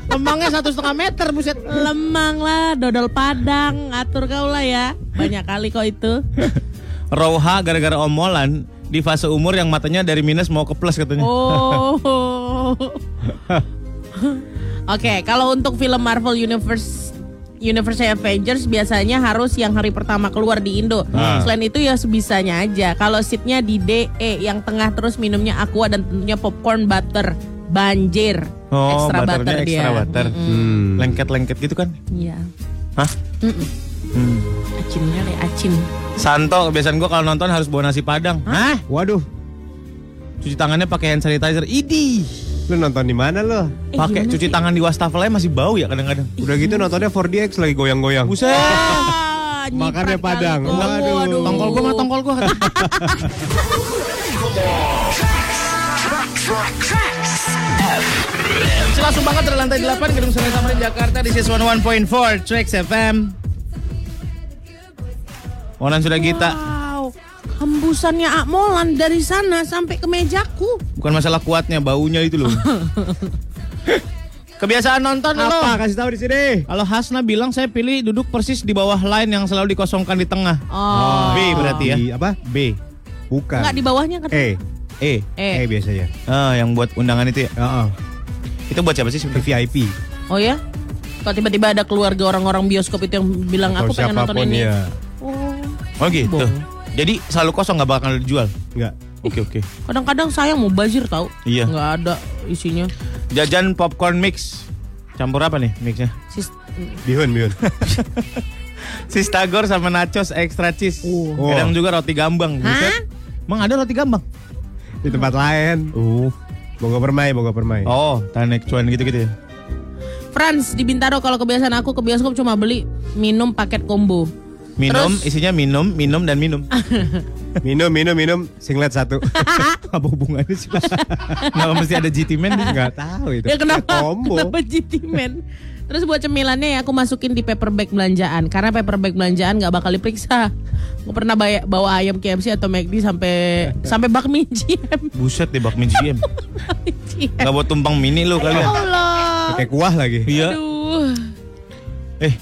Speaker 2: Lemangnya satu setengah meter buset. Lemang lah, dodol padang, atur kau lah ya. Banyak kali kok itu.
Speaker 1: Roha gara-gara omolan di fase umur yang matanya dari minus mau ke plus katanya.
Speaker 2: Oh. Oke, kalau untuk film Marvel Universe Universe Avengers biasanya harus yang hari pertama keluar di Indo.
Speaker 1: Ah.
Speaker 2: Selain itu ya sebisanya aja. Kalau seatnya di DE yang tengah terus minumnya aqua dan tentunya popcorn butter banjir.
Speaker 1: Oh,
Speaker 2: extra
Speaker 1: butternya
Speaker 2: butter dia.
Speaker 1: extra butter.
Speaker 5: Hmm.
Speaker 1: Lengket-lengket gitu kan?
Speaker 2: Iya.
Speaker 1: Hah?
Speaker 2: Mm-mm.
Speaker 1: Hmm.
Speaker 2: Acinnya kayak acin.
Speaker 1: Santo, kebiasaan gua kalau nonton harus bawa nasi padang. Hah?
Speaker 5: Waduh,
Speaker 1: Cuci tangannya pakai hand sanitizer. Idi.
Speaker 5: lu nonton di mana lo?
Speaker 2: Eh,
Speaker 1: Pakai cuci tangan di wastafelnya masih bau ya kadang-kadang.
Speaker 5: Udah gitu nontonnya 4DX lagi goyang-goyang.
Speaker 1: Buset.
Speaker 2: Ah, nyiprat
Speaker 5: Makannya
Speaker 2: kali
Speaker 5: padang.
Speaker 2: tuh.
Speaker 5: Waduh.
Speaker 2: Waduh.
Speaker 1: ya, Tongkol gua mah tongkol gua. Masih langsung banget dari lantai 8 Gedung Sungai Samarinda Jakarta di Siswan 1.4 Trax FM. Onan sudah kita
Speaker 2: Wow, hembusannya Akmolan dari sana sampai ke mejaku.
Speaker 1: Bukan masalah kuatnya, baunya itu loh. Kebiasaan nonton lo.
Speaker 5: Apa kasih tahu di sini?
Speaker 1: Kalau Hasna bilang saya pilih duduk persis di bawah line yang selalu dikosongkan di tengah.
Speaker 2: Oh,
Speaker 1: B berarti ya.
Speaker 5: Di apa?
Speaker 1: B.
Speaker 5: Bukan.
Speaker 2: nggak di bawahnya kan?
Speaker 5: E.
Speaker 1: E.
Speaker 5: E
Speaker 2: Eh.
Speaker 5: biasanya.
Speaker 1: Ah, yang buat undangan itu ya.
Speaker 5: Heeh.
Speaker 1: Itu buat siapa sih
Speaker 5: Di
Speaker 1: sebenarnya?
Speaker 5: VIP.
Speaker 2: Oh ya? Kalau tiba-tiba ada keluarga orang-orang bioskop itu yang bilang aku
Speaker 5: Atau
Speaker 2: pengen nonton
Speaker 5: siapapun
Speaker 2: ini.
Speaker 5: ya.
Speaker 2: Oh,
Speaker 1: Oh gitu. Jadi selalu kosong nggak bakal dijual.
Speaker 5: Enggak.
Speaker 1: Oke oke.
Speaker 2: kadang-kadang sayang mau bazir tahu?
Speaker 1: Iya.
Speaker 2: Nggak ada isinya.
Speaker 1: Jajan popcorn mix. Campur apa nih mixnya?
Speaker 2: Sis-
Speaker 5: Bihun, bihun.
Speaker 1: Sistagor sama nachos extra cheese.
Speaker 5: Oh.
Speaker 1: Kadang juga roti gambang. Buset. Emang ada roti gambang?
Speaker 5: di tempat lain.
Speaker 1: Oh.
Speaker 5: Bogor Permai, Bogor Permai.
Speaker 1: Oh, tanek cuan gitu-gitu ya.
Speaker 2: Franz di Bintaro kalau kebiasaan aku ke bioskop cuma beli minum paket combo.
Speaker 1: Minum,
Speaker 2: Terus-
Speaker 1: isinya minum, minum dan minum.
Speaker 5: Minum, minum, minum. Singlet satu.
Speaker 1: apa hubungannya sih? Kenapa mesti ada GT Man?
Speaker 5: Enggak tahu itu.
Speaker 2: Ya kenapa?
Speaker 5: Combo.
Speaker 2: Kenapa GT Man? Terus buat cemilannya ya aku masukin di paper bag belanjaan karena paper bag belanjaan nggak bakal diperiksa. Gue pernah bay- bawa ayam KFC atau McD sampai sampai bakmi GM.
Speaker 1: Buset deh bakmi GM. Gak buat tumpang mini lu kali ya.
Speaker 2: Allah.
Speaker 5: Pakai kuah lagi.
Speaker 1: Iya.
Speaker 2: Aduh.
Speaker 1: Eh.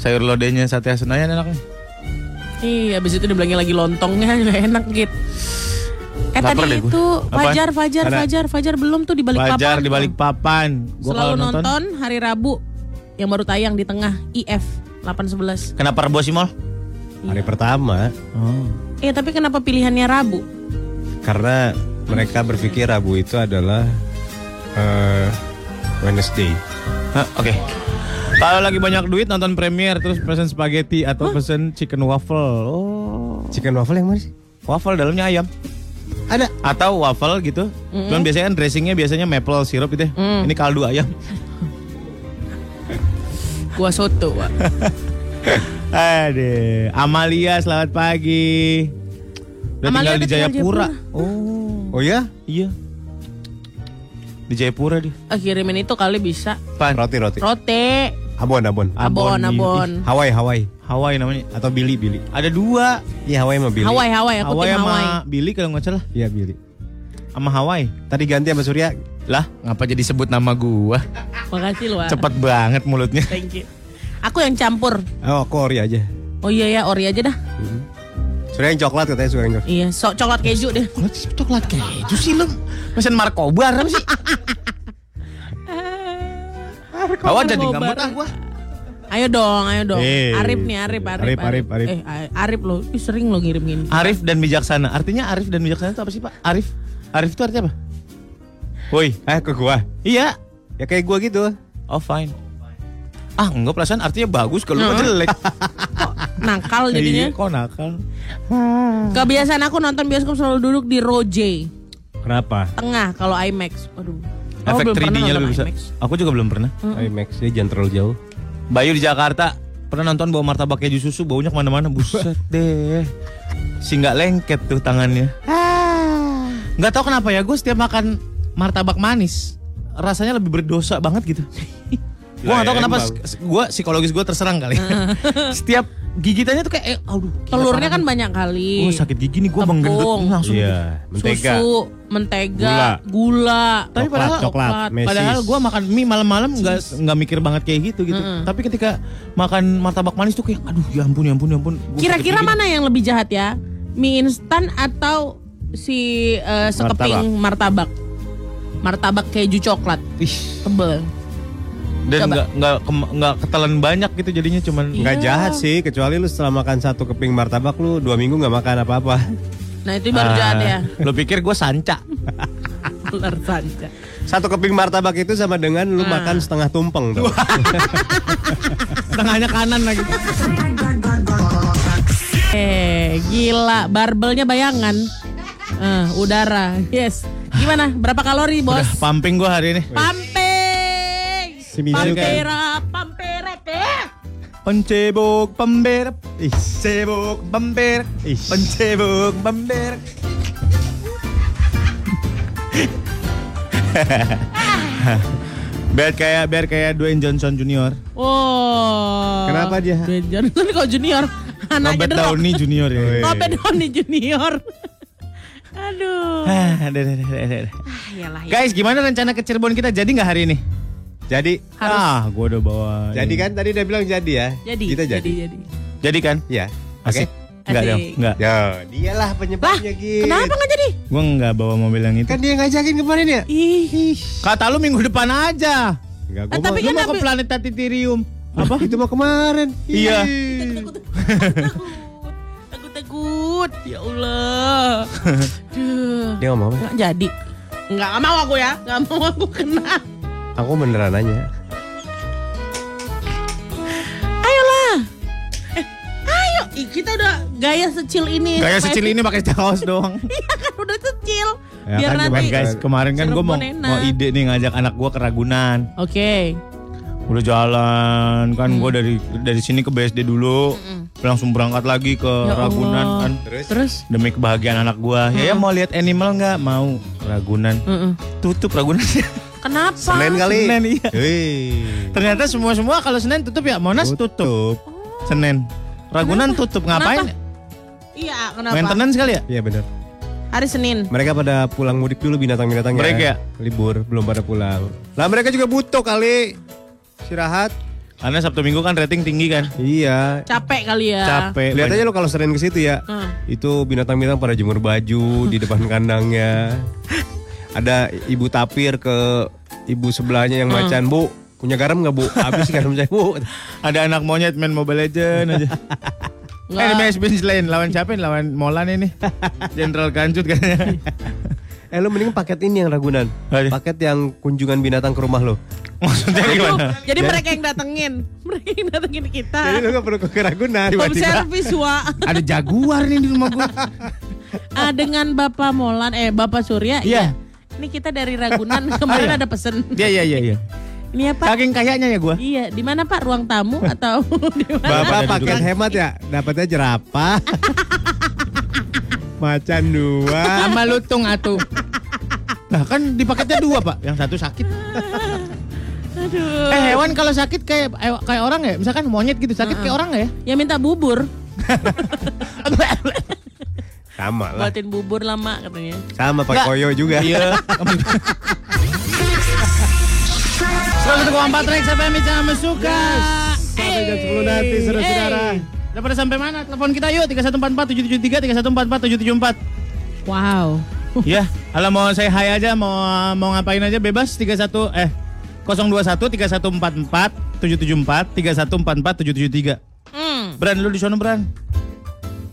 Speaker 1: Sayur lodenya sate Senayan enaknya.
Speaker 2: Iya, abis itu dibilangnya lagi lontongnya nggak enak gitu. Eh
Speaker 1: Laper
Speaker 2: tadi
Speaker 1: deh gue.
Speaker 2: itu
Speaker 1: Apaan?
Speaker 2: Fajar, Fajar,
Speaker 1: Ada.
Speaker 2: Fajar, Fajar belum tuh di balik papan.
Speaker 1: Pajar di balik papan. Gua
Speaker 2: Selalu
Speaker 1: kalau
Speaker 2: nonton,
Speaker 1: nonton.
Speaker 2: hari Rabu yang baru tayang di tengah IF 811.
Speaker 1: Kenapa rebo sih, Mol? Iya.
Speaker 5: Hari pertama
Speaker 1: Oh.
Speaker 2: Eh tapi kenapa pilihannya Rabu?
Speaker 5: karena eh, mereka berpikir Rabu itu adalah eh, Wednesday.
Speaker 1: Hah, Oke. Kalau lagi banyak duit nonton premier terus pesen spaghetti atau pesen chicken waffle. Oh.
Speaker 5: Chicken waffle yang mana sih?
Speaker 1: Waffle dalamnya ayam.
Speaker 5: Ada.
Speaker 1: Atau waffle gitu. Cuman biasanya kan dressingnya biasanya maple syrup gitu ya. Ini kaldu ayam.
Speaker 2: Gua soto. Wak.
Speaker 1: Aduh, Amalia selamat pagi. Udah
Speaker 2: Amalia udah
Speaker 1: tinggal di
Speaker 2: tinggal Jayapura.
Speaker 1: Jayapura. Oh,
Speaker 5: Oh ya?
Speaker 1: iya. Di Jayapura dia.
Speaker 2: Eh, Kirimin itu kali bisa.
Speaker 1: Pan.
Speaker 5: Roti, roti.
Speaker 2: Rote,
Speaker 5: Abon, abon.
Speaker 2: abon, abon.
Speaker 5: Hawaii, Hawaii.
Speaker 1: Hawaii namanya.
Speaker 5: Atau Billy, Billy.
Speaker 1: Ada dua.
Speaker 5: Iya, Hawaii sama Billy.
Speaker 2: Hawaii, Hawaii, aku
Speaker 1: Hawaii
Speaker 2: tim
Speaker 1: sama
Speaker 2: Hawaii.
Speaker 1: Billy kalau nggak salah.
Speaker 5: Iya, Billy.
Speaker 1: Sama Hawaii.
Speaker 5: Tadi ganti sama Surya
Speaker 1: Lah, ngapa jadi sebut nama gua?
Speaker 2: Makasih loh. Wak.
Speaker 1: Cepet banget mulutnya.
Speaker 2: Thank you. Aku yang campur.
Speaker 3: Oh, kori aja.
Speaker 2: Oh iya ya, ori aja dah.
Speaker 3: Sudah yang coklat katanya sudah yang coklat.
Speaker 2: Iya, sok coklat keju deh.
Speaker 1: Kok coklat keju sih lu? Mesen markobar apa sih? Bawa jadi
Speaker 9: Markobar.
Speaker 1: ngamut ah gua.
Speaker 2: Ayo dong, ayo dong.
Speaker 1: Iya,
Speaker 3: Eh,
Speaker 2: Arif nih, Arif, Arif.
Speaker 3: Arif, Arif, Arif.
Speaker 2: Eh, A- Arif loh. Ih, sering lo ngirim gini.
Speaker 1: Arif dan bijaksana. Artinya Arif dan bijaksana itu apa sih, Pak? Arif. Arif itu artinya apa? Woi,
Speaker 3: Eh, ke gua.
Speaker 1: iya.
Speaker 3: Ya kayak gua gitu.
Speaker 1: Oh, fine. Ah, enggak perasaan artinya bagus kalau lu mah jelek.
Speaker 2: Nakal
Speaker 1: Iya,
Speaker 2: jadinya. Oh,
Speaker 1: kok nakal.
Speaker 2: Kebiasaan aku nonton bioskop selalu duduk di row J.
Speaker 1: Kenapa?
Speaker 2: Tengah kalau IMAX. Aduh. Aku
Speaker 1: Efek
Speaker 2: belum pernah
Speaker 1: 3D-nya
Speaker 2: nonton
Speaker 1: lebih besar.
Speaker 2: IMAX.
Speaker 1: Aku juga belum pernah.
Speaker 3: IMAX ya jangan terlalu jauh.
Speaker 1: Bayu di Jakarta pernah nonton bawa martabak keju susu baunya kemana-mana buset deh si nggak lengket tuh tangannya
Speaker 3: Ah.
Speaker 1: nggak tahu kenapa ya gue setiap makan martabak manis rasanya lebih berdosa banget gitu gue nggak tahu
Speaker 3: Ya,
Speaker 1: kenapa
Speaker 3: emang. Ah.
Speaker 1: gue psikologis gue terserang kali setiap gigitannya tuh kayak eh, aduh gila,
Speaker 2: Telurnya kan
Speaker 1: parah
Speaker 2: banyak kali.
Speaker 1: nih. oh sakit gigi nih gue
Speaker 2: Tepung.
Speaker 1: menggendut langsung gitu.
Speaker 3: Iya, mentega.
Speaker 2: Susu, mentega, gula.
Speaker 1: tapi
Speaker 3: Coklat,
Speaker 1: padahal
Speaker 3: coklat, mesis.
Speaker 1: padahal gue makan mie malam-malam nggak nggak mikir banget kayak gitu gitu tapi ketika makan martabak manis tuh kayak aduh ya ampun ya ampun ya ampun Gua
Speaker 2: Kira-kira
Speaker 1: sakit gigi.
Speaker 2: mana yang lebih jahat ya? Mie instan atau si eh, sekeping martabak? Martabak keju coklat.
Speaker 1: Ih,
Speaker 2: Tebel.
Speaker 1: dan
Speaker 2: Coba.
Speaker 1: nggak nggak kem- nggak ketelan banyak gitu jadinya cuman
Speaker 3: Nggak jahat sih, kecuali lu setelah makan satu keping martabak lu dua minggu nggak makan apa-apa.
Speaker 2: Nah itu
Speaker 1: Ah.
Speaker 2: baru jahat ya.
Speaker 1: Lo pikir gue sanca?
Speaker 2: Ular sanca.
Speaker 3: Satu keping martabak itu sama dengan lu makan setengah tumpeng tuh.
Speaker 1: Setengahnya kanan lagi.
Speaker 2: Eh gila, barbelnya bayangan. Eh, udara, yes. Gimana? Berapa kalori bos?
Speaker 1: Udah pumping gue hari ini.
Speaker 2: Pamping.
Speaker 3: Si Mizu kan.
Speaker 2: Pampera, pampera teh.
Speaker 1: Pencebok pember, ih cebok pember, ih pencebok pember. Biar kayak biar kayak Dwayne Johnson Junior,
Speaker 2: Oh.
Speaker 3: Kenapa dia?
Speaker 2: Dwayne Johnson kok junior? Anaknya
Speaker 1: Robert
Speaker 2: The Rock.
Speaker 1: Downey Junior ya.
Speaker 3: Wih.
Speaker 2: Robert Downey Junior. Aduh.
Speaker 1: Ah, udah, udah, udah, udah, udah.
Speaker 2: Iyalah, ya.
Speaker 1: Guys, gimana rencana ke Cirebon kita jadi nggak hari ini?
Speaker 3: Jadi,
Speaker 1: Ah, gue udah bawa.
Speaker 3: jadi kan tadi dia bilang jadi ya.
Speaker 2: Jadi,
Speaker 3: Kita jadi.
Speaker 2: jadi, jadi.
Speaker 1: Jadi kan?
Speaker 3: Ya.
Speaker 1: Asik.
Speaker 3: Oke.
Speaker 1: Enggak dong,
Speaker 2: Asik.
Speaker 1: enggak.
Speaker 3: Ya, dialah
Speaker 2: Lah,
Speaker 3: penyebabnya gitu.
Speaker 2: kenapa nggak jadi?
Speaker 1: Gue nggak bawa mobil yang itu.
Speaker 3: Kan dia yang ngajakin kemarin ya?
Speaker 2: Ih,
Speaker 1: Kata lu minggu depan aja.
Speaker 3: Enggak,
Speaker 2: Ah, tapi
Speaker 1: Lu
Speaker 2: kan
Speaker 1: mau ke
Speaker 2: abis-
Speaker 1: planet Tatitirium. Apa?
Speaker 3: itu mau kemarin.
Speaker 1: Iya.
Speaker 2: takut-takut. Ya Allah. Duh.
Speaker 3: Dia ngomong apa?
Speaker 2: Nggak jadi. Nggak, nggak mau aku ya. Nggak mau aku kena.
Speaker 3: Aku beneran nanya.
Speaker 2: Ayolah. Eh, ayo. Ih, kita udah gaya secil ini.
Speaker 1: Gaya secil ini pakai kaos doang.
Speaker 2: Iya kan udah secil.
Speaker 3: Ya
Speaker 2: Biar
Speaker 3: kan,
Speaker 2: nanti.
Speaker 1: Cuman guys, kemarin kan gue mau,
Speaker 2: Cirebon enak.
Speaker 1: mau ide nih ngajak anak gue ke Ragunan.
Speaker 2: Oke.
Speaker 1: Udah jalan kan gue dari dari sini ke BSD dulu, langsung berangkat lagi ke
Speaker 2: Ya
Speaker 1: Ragunan
Speaker 2: Allah.
Speaker 1: kan.
Speaker 3: Terus?
Speaker 2: Terus?
Speaker 1: Demi kebahagiaan anak gue. Ya, ya mau lihat animal nggak? Mau Ragunan.
Speaker 2: Mm-mm.
Speaker 1: Tutup Ragunan.
Speaker 2: Kenapa?
Speaker 3: Senin kali.
Speaker 1: Senin, iya.
Speaker 3: Wih.
Speaker 1: Ternyata semua semua kalau Senin tutup ya Monas tutup. Senin. Ragunan tutup ngapain?
Speaker 2: Iya, kenapa?
Speaker 1: Maintenance kali ya?
Speaker 3: Iya bener.
Speaker 2: Hari Senin.
Speaker 3: Mereka pada pulang mudik dulu binatang-binatang
Speaker 1: Mereka ya?
Speaker 3: Libur, belum pada pulang. Lah mereka juga butuh kali. Istirahat.
Speaker 1: Karena Sabtu Minggu kan rating tinggi kan.
Speaker 3: Iya.
Speaker 2: Capek kali ya.
Speaker 1: Capek.
Speaker 3: Lihat aja lo kalau sering ke situ ya.
Speaker 2: Hmm.
Speaker 3: Itu binatang-binatang pada jemur baju di depan kandangnya. Ada ibu tapir ke ibu sebelahnya
Speaker 1: Hmm.
Speaker 3: yang macan, Bu. Punya garam nggak bu? Habis garam saya bu.
Speaker 1: Ada anak monyet main Mobile Legend aja. eh, ini Max Bin lain lawan siapa ini? Lawan Molan ini. Jenderal kan. Kancut kayaknya.
Speaker 3: Eh lu mending paket ini yang Ragunan.
Speaker 1: Aduh.
Speaker 3: Paket yang kunjungan binatang ke rumah lo.
Speaker 1: Maksudnya
Speaker 2: Aduh,
Speaker 1: gimana?
Speaker 2: jadi mereka yang datengin. Mereka yang datengin kita.
Speaker 3: Jadi lu gak perlu ke Ragunan.
Speaker 2: Home service wa
Speaker 1: Ada jaguar nih di rumah gua.
Speaker 2: ah, dengan Bapak Molan eh Bapak Surya
Speaker 1: Iya.
Speaker 2: iya. Ini kita dari Ragunan kemarin ada pesen.
Speaker 1: Iya iya iya iya.
Speaker 2: Ini apa?
Speaker 1: Saking kayaknya ya gua.
Speaker 2: Iya, di mana Pak? Ruang tamu atau di mana?
Speaker 1: Ada
Speaker 3: Bapak paket
Speaker 1: dudukan.
Speaker 3: hemat ya, dapatnya jerapah. Macan dua.
Speaker 1: Sama lutung atuh. Nah kan di paketnya dua pak, yang satu sakit.
Speaker 2: Aduh.
Speaker 1: Eh hewan kalau sakit kayak kayak orang ya, misalkan monyet gitu sakit kayak orang nggak ya?
Speaker 2: Ya minta bubur.
Speaker 3: Sama lah.
Speaker 2: Buatin bubur lama katanya.
Speaker 3: Sama Pak
Speaker 1: Nggak.
Speaker 3: Koyo juga.
Speaker 1: Iya. Selamat untuk Wampat Rex FM Jangan suka.
Speaker 2: Ah, eh.
Speaker 5: Sampai jam 10 nanti, saudara-saudara.
Speaker 1: Udah pada sampai mana? Telepon kita yuk 3144 773 3144 774.
Speaker 2: Wow.
Speaker 1: Ya, kalau mau saya hai aja, mau mau ngapain aja bebas 31 eh 021 3144 774 3144 773.
Speaker 2: Hmm,
Speaker 1: Bran lu di sana Bran.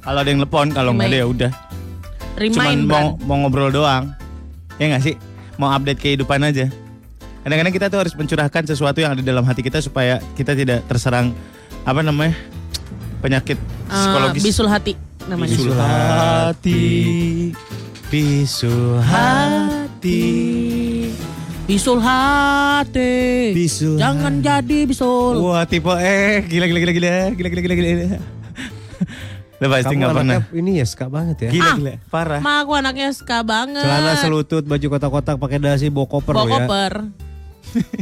Speaker 1: Kalau ada yang telepon, kalau nggak ada ya udah. Cuman
Speaker 2: Remind
Speaker 1: mau mau ngobrol doang. Ya nggak sih? Mau update kehidupan aja. Kadang-kadang kita tuh harus mencurahkan sesuatu yang ada dalam hati kita supaya kita tidak terserang apa namanya? penyakit psikologis.
Speaker 2: Ah, bisul hati namanya.
Speaker 1: Ah, Bisul hati, bisul hati,
Speaker 2: Bisul hati.
Speaker 1: Bisul
Speaker 2: Jangan jadi bisul.
Speaker 1: Wah tipe eh gila gila gila gila gila gila gila gila. Lo pasti nggak pernah.
Speaker 5: ini ya suka banget ya.
Speaker 1: Gila gila parah.
Speaker 2: Ma aku anaknya suka banget.
Speaker 5: Celana selutut, baju kotak-kotak, pakai dasi, bawa koper
Speaker 2: Ah. Bawa
Speaker 5: lo ya.
Speaker 2: koper.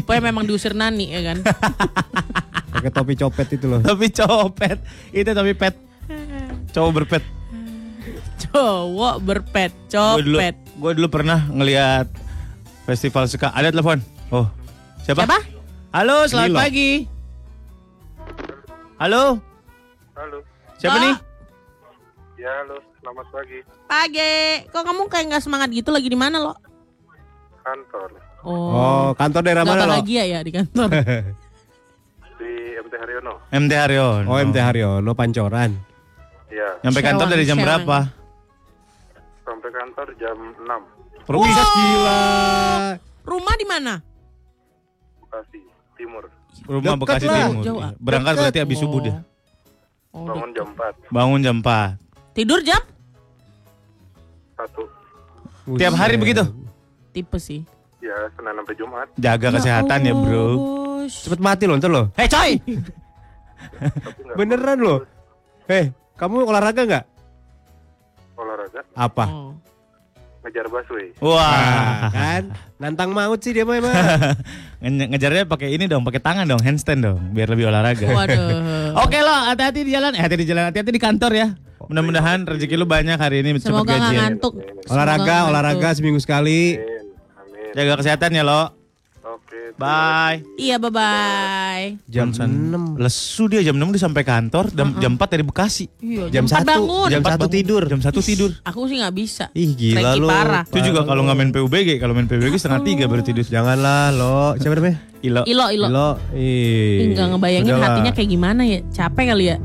Speaker 2: Pokoknya memang diusir Nani ya kan.
Speaker 5: Pakai topi copet itu loh.
Speaker 1: Tapi copet itu tapi pet cowok berpet.
Speaker 2: Cowok berpet,
Speaker 1: Gue dulu
Speaker 2: copet.
Speaker 1: gue dulu pernah ngelihat festival suka ada telepon. Oh siapa?
Speaker 2: Siapa?
Speaker 1: Halo selamat
Speaker 5: Lilo.
Speaker 1: pagi. Halo.
Speaker 10: Halo,
Speaker 1: Siapa
Speaker 2: Kak.
Speaker 1: nih?
Speaker 10: ya halo, selamat pagi
Speaker 2: Pagi. Kok kamu kayak nggak semangat gitu lagi di mana lo?
Speaker 10: kantor
Speaker 2: Oh.
Speaker 5: Oh, kantor daerah
Speaker 2: Gak
Speaker 5: mana lo?
Speaker 2: bahagia ya di kantor.
Speaker 10: di MT Haryono.
Speaker 1: MT Haryon.
Speaker 5: Oh, MT Haryono Pancoran.
Speaker 10: Ya,
Speaker 1: Nyampe
Speaker 2: Sewang,
Speaker 1: kantor dari jam
Speaker 2: Sewang.
Speaker 1: berapa?
Speaker 10: sampai kantor jam 6
Speaker 1: Perpisah gila.
Speaker 2: Rumah di mana?
Speaker 10: Bekasi Timur.
Speaker 1: Rumah
Speaker 5: Deket
Speaker 1: Bekasi
Speaker 5: lah.
Speaker 1: Timur.
Speaker 2: Jawa.
Speaker 1: Berangkat
Speaker 5: Deket.
Speaker 1: berarti habis subuh dia.
Speaker 10: Bangun jam 4
Speaker 1: Bangun jam 4.
Speaker 2: Tidur jam?
Speaker 10: satu.
Speaker 1: Tiap hari
Speaker 5: iya.
Speaker 1: begitu.
Speaker 2: Tipe sih.
Speaker 10: Ya, Senin sampai Jumat.
Speaker 1: Jaga kesehatan ya, Bro.
Speaker 5: Cepet mati loh, ntar loh.
Speaker 1: Hei, coy.
Speaker 5: Beneran loh. Hei, kamu olahraga nggak?
Speaker 10: Olahraga,
Speaker 5: Apa?
Speaker 2: Oh.
Speaker 10: ngejar busway.
Speaker 5: Ah,
Speaker 1: Wah.
Speaker 5: kan? Nantang maut sih dia mah emang.
Speaker 1: Nge- Ngejarnya pakai ini dong, pakai tangan dong, handstand dong, biar lebih olahraga.
Speaker 2: Waduh.
Speaker 1: Oke lo, hati-hati di jalan, eh, hati-hati di jalan, hati-hati di kantor ya. Mudah-mudahan rezeki lu banyak hari ini cepet ya.
Speaker 2: Semoga nggak
Speaker 1: gajian.
Speaker 2: ngantuk.
Speaker 5: olahraga,
Speaker 2: Semoga nggak
Speaker 5: olahraga
Speaker 2: ngantuk.
Speaker 5: seminggu sekali.
Speaker 10: Amin, amin.
Speaker 1: Jaga kesehatan ya lo.
Speaker 10: Oke, terima
Speaker 1: Bye.
Speaker 2: Iya, bye-bye.
Speaker 5: Jam
Speaker 1: enam Lesu dia jam 6 dia sampai kantor, jam, jam 4 dari Bekasi.
Speaker 2: Iya,
Speaker 5: Jam
Speaker 2: empat
Speaker 5: satu,
Speaker 2: bangun.
Speaker 5: jam
Speaker 1: Empat
Speaker 5: satu
Speaker 1: bangun.
Speaker 5: tidur.
Speaker 1: Jam 1 tidur.
Speaker 2: Aku sih nggak bisa.
Speaker 5: Ih, gila
Speaker 2: Cranky
Speaker 5: lu.
Speaker 2: Parah.
Speaker 1: Itu juga kalau nggak main PUBG, kalau main PUBG setengah tiga baru tidur.
Speaker 5: Janganlah lo. Siapa namanya?
Speaker 1: Ilo.
Speaker 2: Ilo, ilo.
Speaker 5: Lo. Ih.
Speaker 2: Enggak ngebayangin
Speaker 5: Sudahlah.
Speaker 2: hatinya kayak gimana ya. Capek kali ya.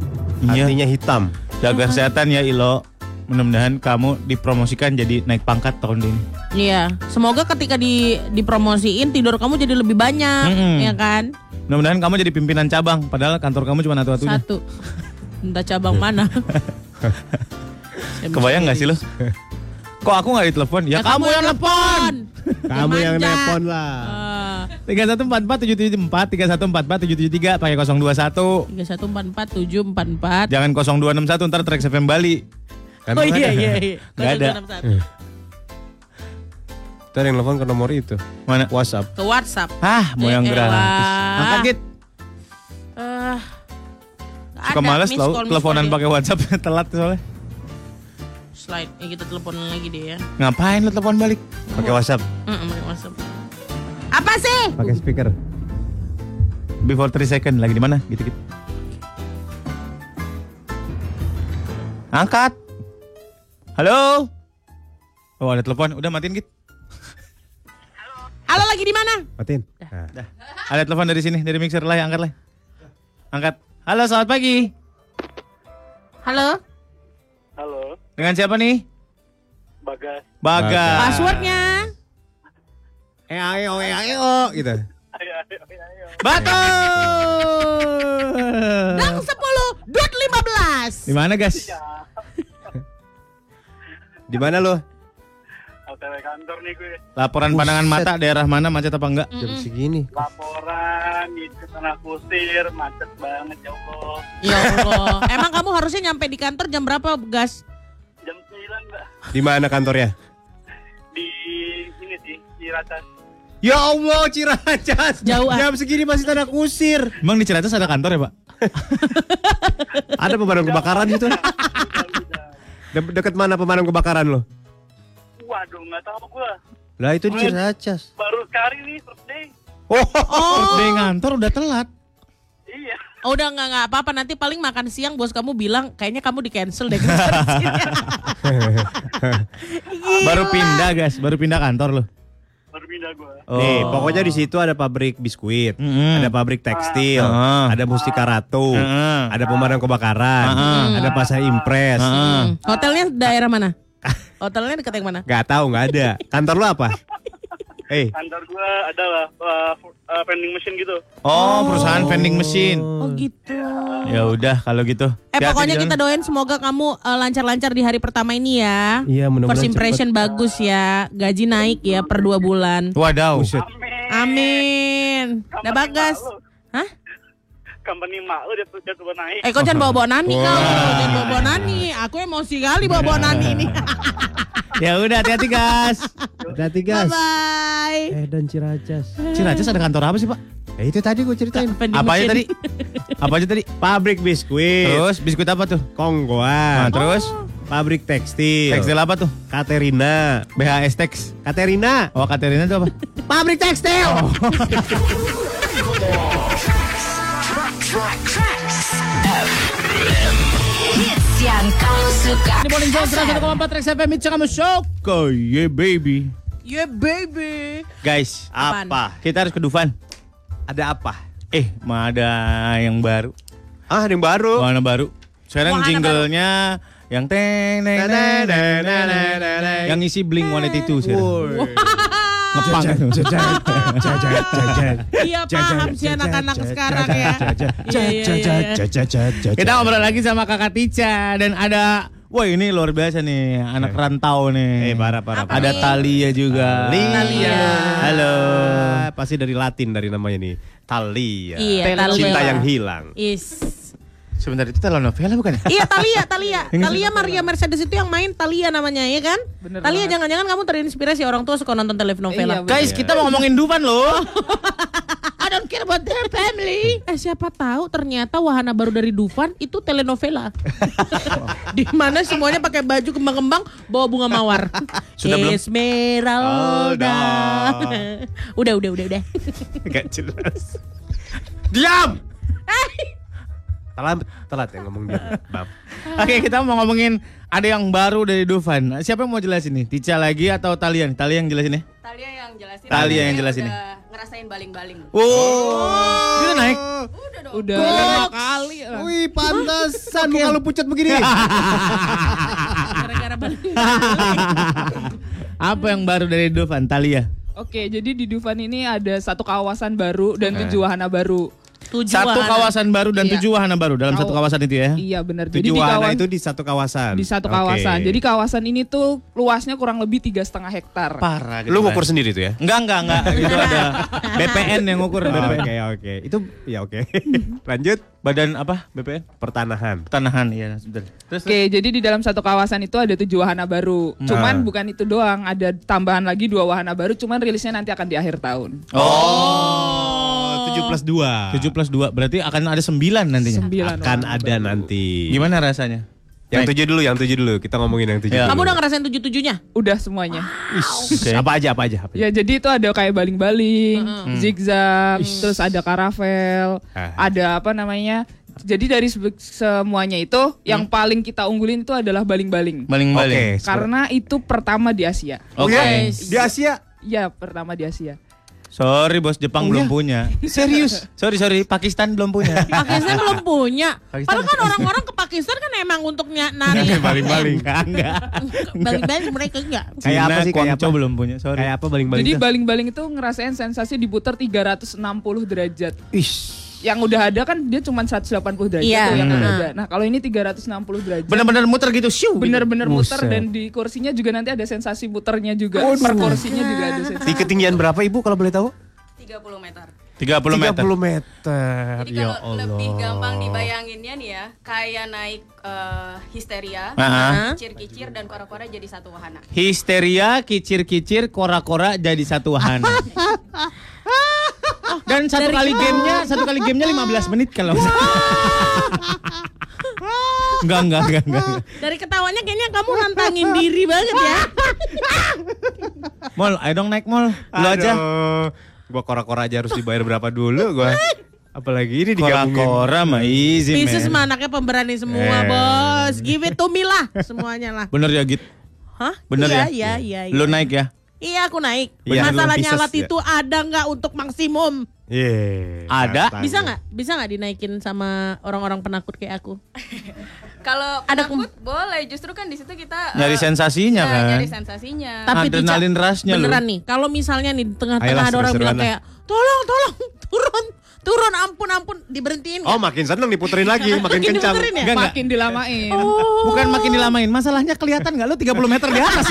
Speaker 1: Iya.
Speaker 5: Hatinya hitam.
Speaker 1: Jaga kesehatan ya Ilo. Mudah-mudahan kamu dipromosikan jadi naik pangkat tahun ini.
Speaker 2: Iya. Semoga ketika di dipromosiin tidur kamu jadi lebih banyak,
Speaker 1: Mm-mm.
Speaker 2: ya kan?
Speaker 1: Mudah-mudahan kamu jadi pimpinan cabang, padahal kantor kamu cuma satu-satunya.
Speaker 2: Satu. Entah cabang mana.
Speaker 1: Kebayang nggak sih lo? Kok aku nggak ditelepon? Ya, kamu yang telepon.
Speaker 5: Kamu yang
Speaker 2: manja.
Speaker 5: nelpon lah.
Speaker 2: Ah,
Speaker 1: 3144 774 3144 773 pakai 021.
Speaker 2: 3144744.
Speaker 1: Jangan 0261 ntar Trax FM Bali.
Speaker 2: Oh iya iya iya.
Speaker 1: Nggak ada. Hmm.
Speaker 2: 0261.
Speaker 5: Ntar yang telepon ke nomor itu.
Speaker 1: Mana?
Speaker 5: WhatsApp.
Speaker 2: Ke WhatsApp.
Speaker 1: Ah, mau yang
Speaker 2: Ya
Speaker 1: gratis. Nah,
Speaker 2: elah.
Speaker 1: Angkat git.
Speaker 2: Eh, nggak
Speaker 1: Suka
Speaker 2: ada.
Speaker 1: males
Speaker 2: Miss
Speaker 1: tau
Speaker 2: call, miss
Speaker 1: teleponan
Speaker 2: call
Speaker 1: pakai WhatsApp telat soalnya.
Speaker 2: ya. Slide. Ya, kita telepon lagi deh ya.
Speaker 1: Ngapain lo telepon balik?
Speaker 5: Pakai WhatsApp.
Speaker 2: Mm-mm, pakai WhatsApp. Apa sih?
Speaker 5: Pakai speaker.
Speaker 1: Before 3 second lagi di mana? Gitu, Gitu-gitu. Angkat. Halo. Oh ada telepon. Udah matiin git.
Speaker 2: Halo lagi di mana?
Speaker 5: Matiin. Nah.
Speaker 1: Dah. Ada telepon dari sini dari mixer lah. Angkat lah. Angkat. Halo selamat pagi.
Speaker 2: Halo.
Speaker 10: Halo,
Speaker 1: Dengan siapa nih?
Speaker 10: Bagas.
Speaker 1: Bagas.
Speaker 2: Passwordnya?
Speaker 5: Eh ayo, eh
Speaker 1: oh,
Speaker 5: ayo, gitu.
Speaker 10: Ayo, ayo, ayo.
Speaker 1: Betul.
Speaker 2: Gang 10, dot 15.
Speaker 1: Di mana guys?
Speaker 10: Iya.
Speaker 5: Di mana lo?
Speaker 10: OTW kantor nih gue.
Speaker 1: Laporan pandangan mata daerah mana macet apa enggak?
Speaker 10: Mm.
Speaker 5: Jam segini.
Speaker 10: Laporan itu tanah kusir, macet banget ya Allah.
Speaker 2: Ya Allah. Emang kamu harusnya nyampe di kantor jam berapa, Gas?
Speaker 10: Jam 9 mbak.
Speaker 5: Di mana kantornya?
Speaker 10: Di ini sih, Ciracas.
Speaker 5: Ya Allah, Ciracas.
Speaker 2: Jauh, ah.
Speaker 5: Jam segini masih tanah kusir.
Speaker 1: Emang di Ciracas ada kantor ya pak?
Speaker 5: Ada pemadam kebakaran gitu. De- deket mana pemadam kebakaran lo?
Speaker 10: Waduh, nggak tahu gue.
Speaker 5: Lah itu di Ciracas.
Speaker 10: Baru sekali nih, first day.
Speaker 1: Oh, Birthday ngantor udah telat.
Speaker 10: Iya.
Speaker 2: Oh, udah nggak nggak apa-apa nanti paling makan siang bos kamu bilang kayaknya kamu di cancel deh.
Speaker 1: Baru pindah guys, baru pindah kantor loh.
Speaker 10: Berpindah gue.
Speaker 3: Nih, pokoknya di situ ada pabrik biskuit,
Speaker 5: Hmm.
Speaker 1: Mm-mm.
Speaker 3: ada pabrik tekstil,
Speaker 1: Heeh.
Speaker 5: Ah.
Speaker 3: ada mustika ratu,
Speaker 1: Heeh.
Speaker 3: ada pemadam kebakaran,
Speaker 5: Ah.
Speaker 3: ada pasar impres.
Speaker 1: Heeh.
Speaker 2: Hotelnya daerah mana? Hotelnya deket yang mana?
Speaker 3: Gak tahu, nggak ada. Kantor lu apa? Eh,
Speaker 10: Kantor gue adalah uh, vending machine gitu.
Speaker 1: Oh, perusahaan vending mesin.
Speaker 2: Oh gitu.
Speaker 1: Ya udah kalau gitu.
Speaker 2: Eh
Speaker 1: Hati-hati
Speaker 2: pokoknya
Speaker 1: di
Speaker 2: kita
Speaker 1: jalan.
Speaker 2: doain semoga kamu eh, lancar-lancar di hari pertama ini ya.
Speaker 3: Iya, mudah-mudahan
Speaker 2: First impression bagus ya. Gaji naik ya per dua bulan.
Speaker 1: Wadaw.
Speaker 10: Amin.
Speaker 2: Amin. Dah bagas. Hah?
Speaker 10: Company mak lu jatuh jatuh naik.
Speaker 2: Eh kau jangan bawa-bawa nani kau. Jangan bawa-bawa nani. Aku emosi kali bawa-bawa
Speaker 3: Nah.
Speaker 2: nani ini.
Speaker 1: Ya udah hati-hati guys.
Speaker 3: hati guys.
Speaker 2: Bye-bye.
Speaker 3: Eh, dan Ciracas.
Speaker 1: Ciracas ada kantor apa sih, Pak?
Speaker 3: Ya itu tadi gue ceritain.
Speaker 2: Vending
Speaker 1: Apanya
Speaker 2: machine.
Speaker 1: tadi? Apa aja tadi?
Speaker 3: Pabrik biskuit,
Speaker 1: Terus biskuit apa tuh? Nah,
Speaker 3: Konggoan,
Speaker 1: terus
Speaker 3: pabrik tekstil,
Speaker 1: tekstil apa tuh?
Speaker 3: Katerina,
Speaker 1: BHS Tex.
Speaker 3: Katerina.
Speaker 1: Oh, Katerina itu apa? Oh.
Speaker 3: Pabrik tekstil.
Speaker 7: Hits yang kau suka.
Speaker 2: Ini Morning Show 101,4 Rex FM It's kamu show
Speaker 1: Koye baby.
Speaker 2: Yeah baby
Speaker 1: Guys,
Speaker 2: Apaan?
Speaker 3: Apa?
Speaker 1: kita harus ke Dufan.
Speaker 3: Ada apa?
Speaker 1: Eh, mah ada yang baru.
Speaker 3: Ah, ada yang baru.
Speaker 1: Wahana baru. Sekarang
Speaker 2: Wahana
Speaker 1: jinglenya yang teng neng, neng, neng, neng, neng, neng. yang isi Blink 182 sekarang. Ngepang.
Speaker 2: Iya paham sih anak-anak sekarang ya Iya iya iya
Speaker 1: Kita ngobrol lagi sama Kakak Tica dan ada Wah ini luar biasa nih anak rantau nih.
Speaker 3: Eh, parah, parah,
Speaker 1: Ada
Speaker 3: parah.
Speaker 1: Talia juga.
Speaker 3: Talia.
Speaker 1: Halo.
Speaker 3: Pasti dari Latin dari namanya nih. Talia.
Speaker 2: Iya,
Speaker 3: Cinta
Speaker 2: Talia.
Speaker 3: yang hilang.
Speaker 2: Is
Speaker 1: Sebentar itu telenovela bukan ya?
Speaker 2: Iya Talia, Talia. Talia Maria Mercedes itu yang main Talia namanya ya kan? Talia jangan-jangan kamu terinspirasi orang tua suka nonton telenovela.
Speaker 1: Guys kita mau ngomongin Dufan loh.
Speaker 2: Iya, I don't care about their family. Eh siapa tahu ternyata wahana baru dari Dufan itu telenovela. Di mana semuanya pakai baju kembang-kembang bawa bunga mawar.
Speaker 1: Sudah belum?
Speaker 3: Oh,
Speaker 2: Esmeralda. udah, udah, udah, udah.
Speaker 3: Gak jelas.
Speaker 1: Diam.
Speaker 3: Telat, telat ya ngomong dia. Bab.
Speaker 1: Oke kita mau ngomongin ada yang baru dari Dufan. Siapa yang mau jelasin nih? Tica lagi atau Talia? nih? Talia yang jelasin ya?
Speaker 11: Talia yang jelasin.
Speaker 1: Talia yang jelasin nih.
Speaker 11: Udah ngerasain baling-baling.
Speaker 1: Oh, kita naik.
Speaker 11: Udah dong.
Speaker 8: Udah lima kali
Speaker 2: Iya.
Speaker 8: lah.
Speaker 3: Wih, pantasan muka lu pucat begini.
Speaker 2: Gara-gara balik.
Speaker 1: Apa yang baru dari Dufan? Talia.
Speaker 11: Oke, jadi di Dufan ini ada satu kawasan baru dan
Speaker 3: Eh.
Speaker 11: tujuh wahana baru.
Speaker 2: Tujuh
Speaker 1: Satu
Speaker 2: wahana.
Speaker 1: kawasan baru dan
Speaker 11: Iya.
Speaker 1: tujuh wahana baru dalam satu
Speaker 11: Kawa-
Speaker 1: kawasan itu ya.
Speaker 11: Iya benar. Jadi
Speaker 3: Tujuh
Speaker 11: di
Speaker 3: wahana
Speaker 11: kawasan
Speaker 3: itu di satu kawasan.
Speaker 11: di satu
Speaker 3: Oke.
Speaker 11: kawasan. Jadi kawasan ini tuh luasnya kurang lebih tiga setengah
Speaker 5: Nah,
Speaker 11: hektar.
Speaker 1: Parah.
Speaker 3: lu ngukur sendiri tuh ya?
Speaker 1: Enggak, enggak, enggak. Itu ada BPN yang ngukur.
Speaker 3: Oke,
Speaker 1: BPN.
Speaker 3: oke. Itu ya oke. Lanjut
Speaker 1: Badan apa?
Speaker 3: ya?
Speaker 1: BPN?
Speaker 3: pertanahan.
Speaker 1: Pertanahan ya, sebentar. Terus
Speaker 11: Oke, jadi di dalam satu kawasan itu ada tujuh wahana baru. Cuman bukan itu doang, ada tambahan lagi dua wahana baru. Cuman rilisnya nanti akan di akhir tahun.
Speaker 3: Oh, 7 plus 2.
Speaker 1: 7 Ah. plus 2 berarti akan ada 9 nantinya.
Speaker 11: Sembilan.
Speaker 3: akan
Speaker 11: wahana
Speaker 3: ada
Speaker 11: baru.
Speaker 3: nanti.
Speaker 1: Gimana rasanya?
Speaker 3: Yang
Speaker 1: Naik.
Speaker 3: tujuh dulu, yang tujuh dulu. Kita ngomongin yang tujuh.
Speaker 1: Ya.
Speaker 3: dulu.
Speaker 2: Iya. Kamu udah ngerasain tujuh-tujuhnya?
Speaker 11: Udah semuanya.
Speaker 1: Oke.
Speaker 3: Apa aja, apa aja, apa
Speaker 2: Iya,
Speaker 3: aja.
Speaker 11: Ya jadi itu ada kayak baling-baling, zigzag, terus ada karavel,
Speaker 3: Ah.
Speaker 11: ada apa namanya. Jadi dari sebe- semuanya itu yang paling kita unggulin itu adalah baling-baling.
Speaker 1: Baling-baling.
Speaker 3: Oke,
Speaker 11: Karena itu pertama di Asia.
Speaker 1: Oke.
Speaker 3: Di Asia.
Speaker 11: Ya pertama di Asia.
Speaker 1: Sorry bos, Jepang belum punya.
Speaker 3: Oh, iya. Serius.
Speaker 1: Sorry, sorry, Pakistan belum punya.
Speaker 2: Pakistan belum punya.
Speaker 1: Pakistan-
Speaker 2: Padahal kan orang-orang ke Pakistan kan emang untuk ny- nari.
Speaker 3: Baling-baling.
Speaker 1: enggak, enggak.
Speaker 2: Balik-balik mereka enggak.
Speaker 3: Kayak apa
Speaker 1: Cina,
Speaker 3: sih, kayak
Speaker 1: Guangzhou
Speaker 3: apa?
Speaker 1: belum punya. Sorry.
Speaker 3: Kayak apa baling-baling?
Speaker 11: Jadi
Speaker 3: tuh?
Speaker 11: baling-baling itu ngerasain sensasi diputar 360 derajat.
Speaker 3: Ish.
Speaker 11: Yang udah ada kan dia cuma 180 derajat
Speaker 2: Iya.
Speaker 11: tuh yang
Speaker 2: Hmm.
Speaker 11: ada. Nah kalau ini 360 derajat.
Speaker 1: Bener-bener muter gitu, siu. gitu.
Speaker 11: Bener-bener muter
Speaker 3: Buset.
Speaker 11: dan di kursinya juga nanti ada sensasi muternya juga. Per kursinya juga ada sensasi.
Speaker 3: Di ketinggian berapa Ibu kalau boleh tahu?
Speaker 11: 30 meter.
Speaker 1: 30 meter.
Speaker 3: 30 meter.
Speaker 11: Jadi
Speaker 1: ya
Speaker 11: kalau lebih gampang dibayanginnya nih ya, kayak naik eh, histeria,
Speaker 1: Ah.
Speaker 11: kicir-kicir dan kora-kora jadi satu wahana.
Speaker 1: Histeria, kicir-kicir, kora-kora jadi satu wahana. Dan satu kali gamenya, satu kali gamenya 15 menit kalau nggak salah. Enggak, enggak, enggak, enggak. enggak.
Speaker 2: Dari ketawanya kayaknya kamu nantangin diri banget ya.
Speaker 1: Mol, ayo dong naik mol. Lu
Speaker 3: Aduh.
Speaker 1: aja.
Speaker 3: Gua kora-kora aja harus dibayar berapa dulu gua. Apalagi ini digabungin.
Speaker 1: Kora-kora mah easy
Speaker 2: Pisces mah
Speaker 1: man.
Speaker 2: anaknya pemberani semua
Speaker 1: Eh.
Speaker 2: bos. Give it to me lah semuanya lah.
Speaker 1: Bener ya Git?
Speaker 2: Hah?
Speaker 1: Bener
Speaker 2: iya,
Speaker 1: ya?
Speaker 2: Iya, iya,
Speaker 1: Lu
Speaker 2: iya.
Speaker 1: naik ya?
Speaker 2: Iya aku naik.
Speaker 3: Iya,
Speaker 2: Masalahnya
Speaker 3: lu Pisces,
Speaker 2: alat
Speaker 3: ya.
Speaker 2: itu ada nggak untuk maksimum?
Speaker 3: Yeay,
Speaker 1: Ada.
Speaker 3: kata
Speaker 2: Bisa
Speaker 3: gua.
Speaker 2: nggak? Bisa nggak dinaikin sama orang-orang penakut kayak aku?
Speaker 4: Kalau
Speaker 2: Ada
Speaker 4: penakut boleh, justru kan di situ kita eh,
Speaker 1: Nyari sensasinya
Speaker 2: Iya,
Speaker 4: ya,
Speaker 1: kan?
Speaker 4: Nyari sensasinya.
Speaker 2: Tapi Tica,
Speaker 1: Adrenalin rushnya lu.
Speaker 2: Beneran nih. Kalau misalnya nih di tengah-tengah
Speaker 3: Ayolah,
Speaker 2: ada orang bilang
Speaker 3: seru-seruan lah.
Speaker 2: kayak tolong tolong turun turun ampun ampun diberhentiin.
Speaker 3: Oh makin seneng diputerin lagi, Iya. makin
Speaker 2: Makin
Speaker 3: kencang.
Speaker 2: diputerin ya?
Speaker 1: Enggak, enggak.
Speaker 11: Makin dilamain.
Speaker 2: Oh.
Speaker 1: Bukan makin dilamain, masalahnya kelihatan nggak lu 30 meter di atas.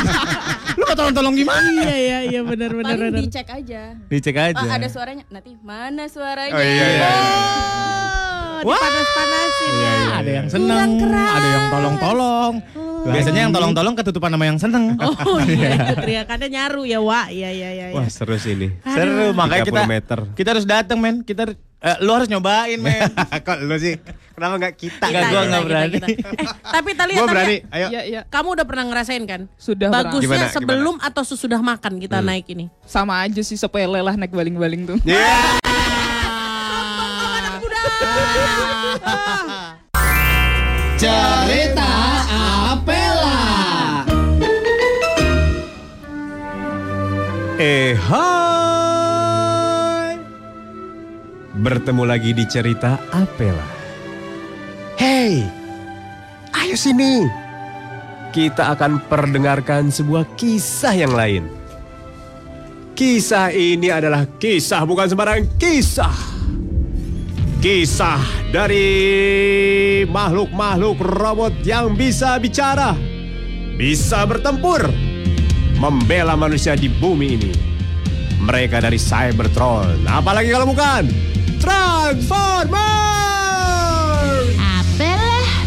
Speaker 1: lu mau tolong-tolong gimana?
Speaker 2: Iya iya iya benar benar
Speaker 4: Paling
Speaker 2: benar.
Speaker 4: dicek aja.
Speaker 1: Dicek aja.
Speaker 4: Oh, ada suaranya. Nanti mana suaranya?
Speaker 3: Oh iya. iya.
Speaker 2: Oh, dipanas-panasin ya.
Speaker 1: Ada yang seneng, ada yang tolong-tolong. Biasanya yang tolong-tolong ketutupan sama yang seneng.
Speaker 2: Oh iya itu teriakannya nyaru ya Wak. Iya iya iya. iya.
Speaker 3: Wah seru sih ini.
Speaker 1: Seru, makanya kita
Speaker 3: 30 meter.
Speaker 1: kita harus datang men. Kita har- eh, lu harus nyobain men.
Speaker 3: Kok lu sih? Kenapa nggak kita?
Speaker 1: Nggak, gua nggak berani.
Speaker 2: Eh, tapi Talia,
Speaker 3: Gua
Speaker 2: Talia,
Speaker 3: berani. Ayo.
Speaker 11: Iya, iya.
Speaker 2: kamu udah pernah ngerasain kan?
Speaker 11: Sudah
Speaker 2: Bagusnya
Speaker 3: pernah. Gimana, Hmm.
Speaker 2: sebelum atau sesudah makan kita naik ini.
Speaker 11: Sama aja sih sepele lah naik baling-baling tuh.
Speaker 3: Iya. Eh hai Bertemu lagi di cerita Apela Hey Ayo sini Kita akan perdengarkan sebuah kisah yang lain Kisah ini adalah kisah bukan sembarang kisah Kisah dari makhluk-makhluk robot yang bisa bicara Bisa bertempur membela manusia di bumi ini. Mereka dari Cybertron, apalagi kalau bukan Transformers.
Speaker 7: Apalah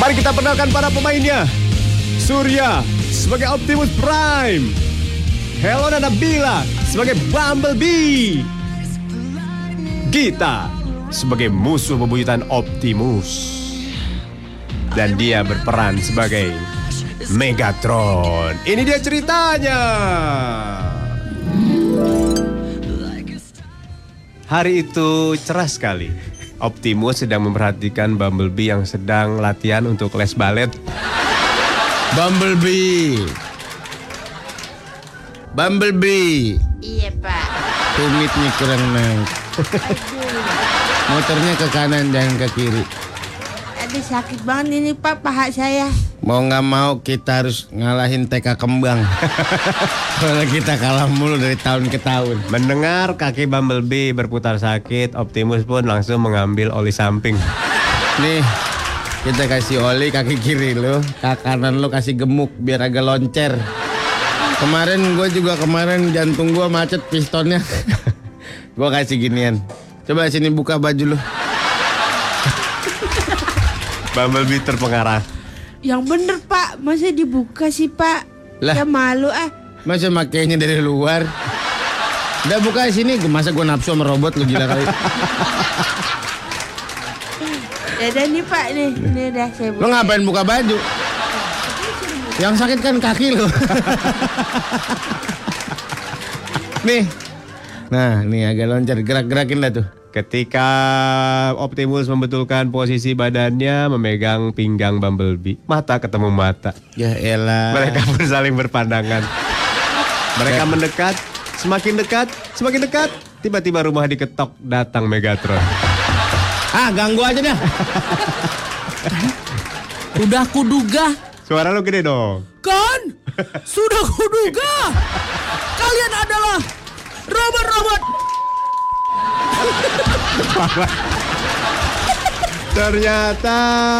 Speaker 3: Mari kita perkenalkan para pemainnya. Surya sebagai Optimus Prime. Helena Nabila sebagai Bumblebee. Gita sebagai musuh bebuyutan Optimus. Dan dia berperan sebagai Megatron. Ini dia ceritanya. Hari itu cerah sekali. Optimus sedang memperhatikan Bumblebee yang sedang latihan untuk les balet.
Speaker 12: Bumblebee. Bumblebee.
Speaker 7: Iya pak
Speaker 12: Tumitnya kurang naik. Motornya ke kanan dan ke kiri.
Speaker 6: Aduh sakit banget ini Pak paha saya.
Speaker 12: Mau nggak mau kita harus ngalahin TK Kembang. Kalau kita kalah mulu dari tahun ke tahun.
Speaker 3: Mendengar kaki Bumblebee berputar sakit, Optimus pun langsung mengambil oli samping.
Speaker 12: Nih, kita kasih oli kaki kiri lo, kaki kanan lo kasih gemuk biar agak loncer. Kemarin gue juga kemarin jantung gue macet pistonnya. gue kasih ginian. Coba sini buka baju lo.
Speaker 3: Bumblebee terpengaruh.
Speaker 6: Yang bener Pak, masa dibuka sih Pak?
Speaker 1: Eh.
Speaker 12: Lah.
Speaker 6: Ya malu ah.
Speaker 12: Masa makainya dari luar? Udah buka sini, masa gue nafsu sama robot lu gila kali.
Speaker 6: Ya dan nih Pak nih, nih udah saya
Speaker 12: Lo
Speaker 6: buka.
Speaker 12: ngapain buka baju? Yang sakit kan kaki lo. nih. Nah, nih agak loncat, gerak-gerakin lah tuh.
Speaker 3: Ketika Optimus membetulkan posisi badannya, memegang pinggang Bumblebee, mata ketemu mata.
Speaker 12: Ya elah.
Speaker 3: Mereka pun saling berpandangan. Mereka mendekat, semakin dekat, semakin dekat. Tiba-tiba rumah diketok, datang Megatron.
Speaker 12: Ah, ganggu aja dah.
Speaker 8: Udah kuduga
Speaker 3: Suara lu gede dong.
Speaker 8: kan? Sudah kuduga. Kalian adalah robot-robot.
Speaker 3: Ternyata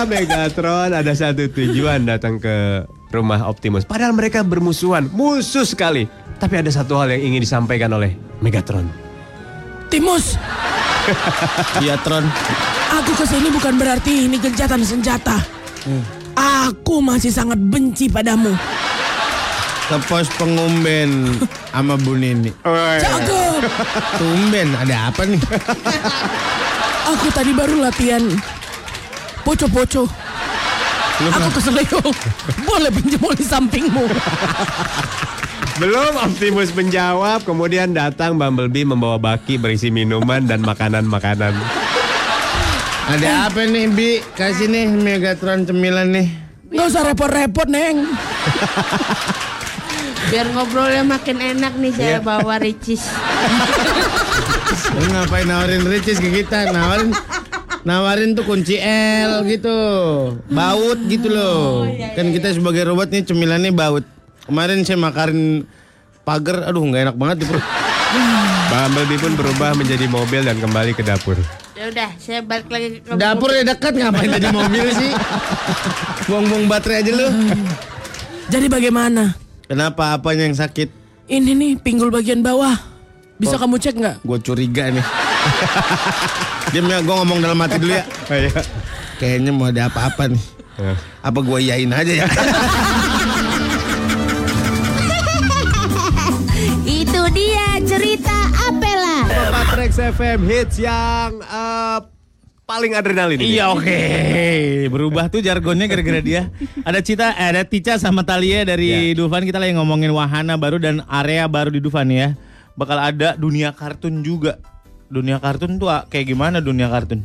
Speaker 3: Megatron ada satu tujuan datang ke rumah Optimus. Padahal mereka bermusuhan, musuh sekali. Tapi ada satu hal yang ingin disampaikan oleh Megatron.
Speaker 8: Timus,
Speaker 12: Iya, Tron.
Speaker 8: aku kesini bukan berarti ini gencatan senjata. Aku masih sangat benci padamu.
Speaker 12: Ke pos pengumben sama Bu Nini.
Speaker 8: Jago.
Speaker 12: Tumben, ada apa nih?
Speaker 8: Aku tadi baru latihan poco-poco. Aku keselio. Boleh pinjam oli sampingmu.
Speaker 3: Belum Optimus menjawab, kemudian datang Bumblebee membawa baki berisi minuman dan makanan-makanan.
Speaker 12: Ada apa nih Bi? Kasih nih Megatron cemilan nih.
Speaker 8: Gak usah repot-repot Neng.
Speaker 6: Biar ngobrolnya makin enak nih saya bawa ricis.
Speaker 12: Lu ngapain nawarin ricis ke kita? Nawarin nawarin tuh kunci L gitu. Baut gitu loh. Kan kita sebagai robot nih cemilannya baut. Kemarin saya makarin pagar, aduh nggak enak banget di perut.
Speaker 3: Bumblebee pun berubah menjadi mobil dan kembali ke dapur.
Speaker 6: Ya udah, saya balik lagi ke
Speaker 12: Dapurnya ya dekat ngapain jadi mobil sih? Buang-buang baterai aja lu.
Speaker 8: Jadi bagaimana?
Speaker 12: Kenapa apanya yang sakit?
Speaker 8: Ini nih pinggul bagian bawah. Bisa kamu cek nggak?
Speaker 12: Gue curiga nih. Diam ya, gue ngomong dalam hati dulu ya.
Speaker 3: Oh, iya.
Speaker 12: Kayaknya mau ada apa-apa nih. Apa gue yain aja ya?
Speaker 7: Itu dia cerita Apela.
Speaker 3: Matrix FM hits yang eh, paling adrenalin. ini.
Speaker 1: Iya oke. Berubah tuh jargonnya gara-gara dia. Ada Cita, eh, ada Tica sama Talia dari Dufan. Kita lagi ngomongin wahana baru dan area baru di Dufan ya. Bakal ada dunia kartun juga. Dunia kartun tuh ah, kayak gimana dunia kartun?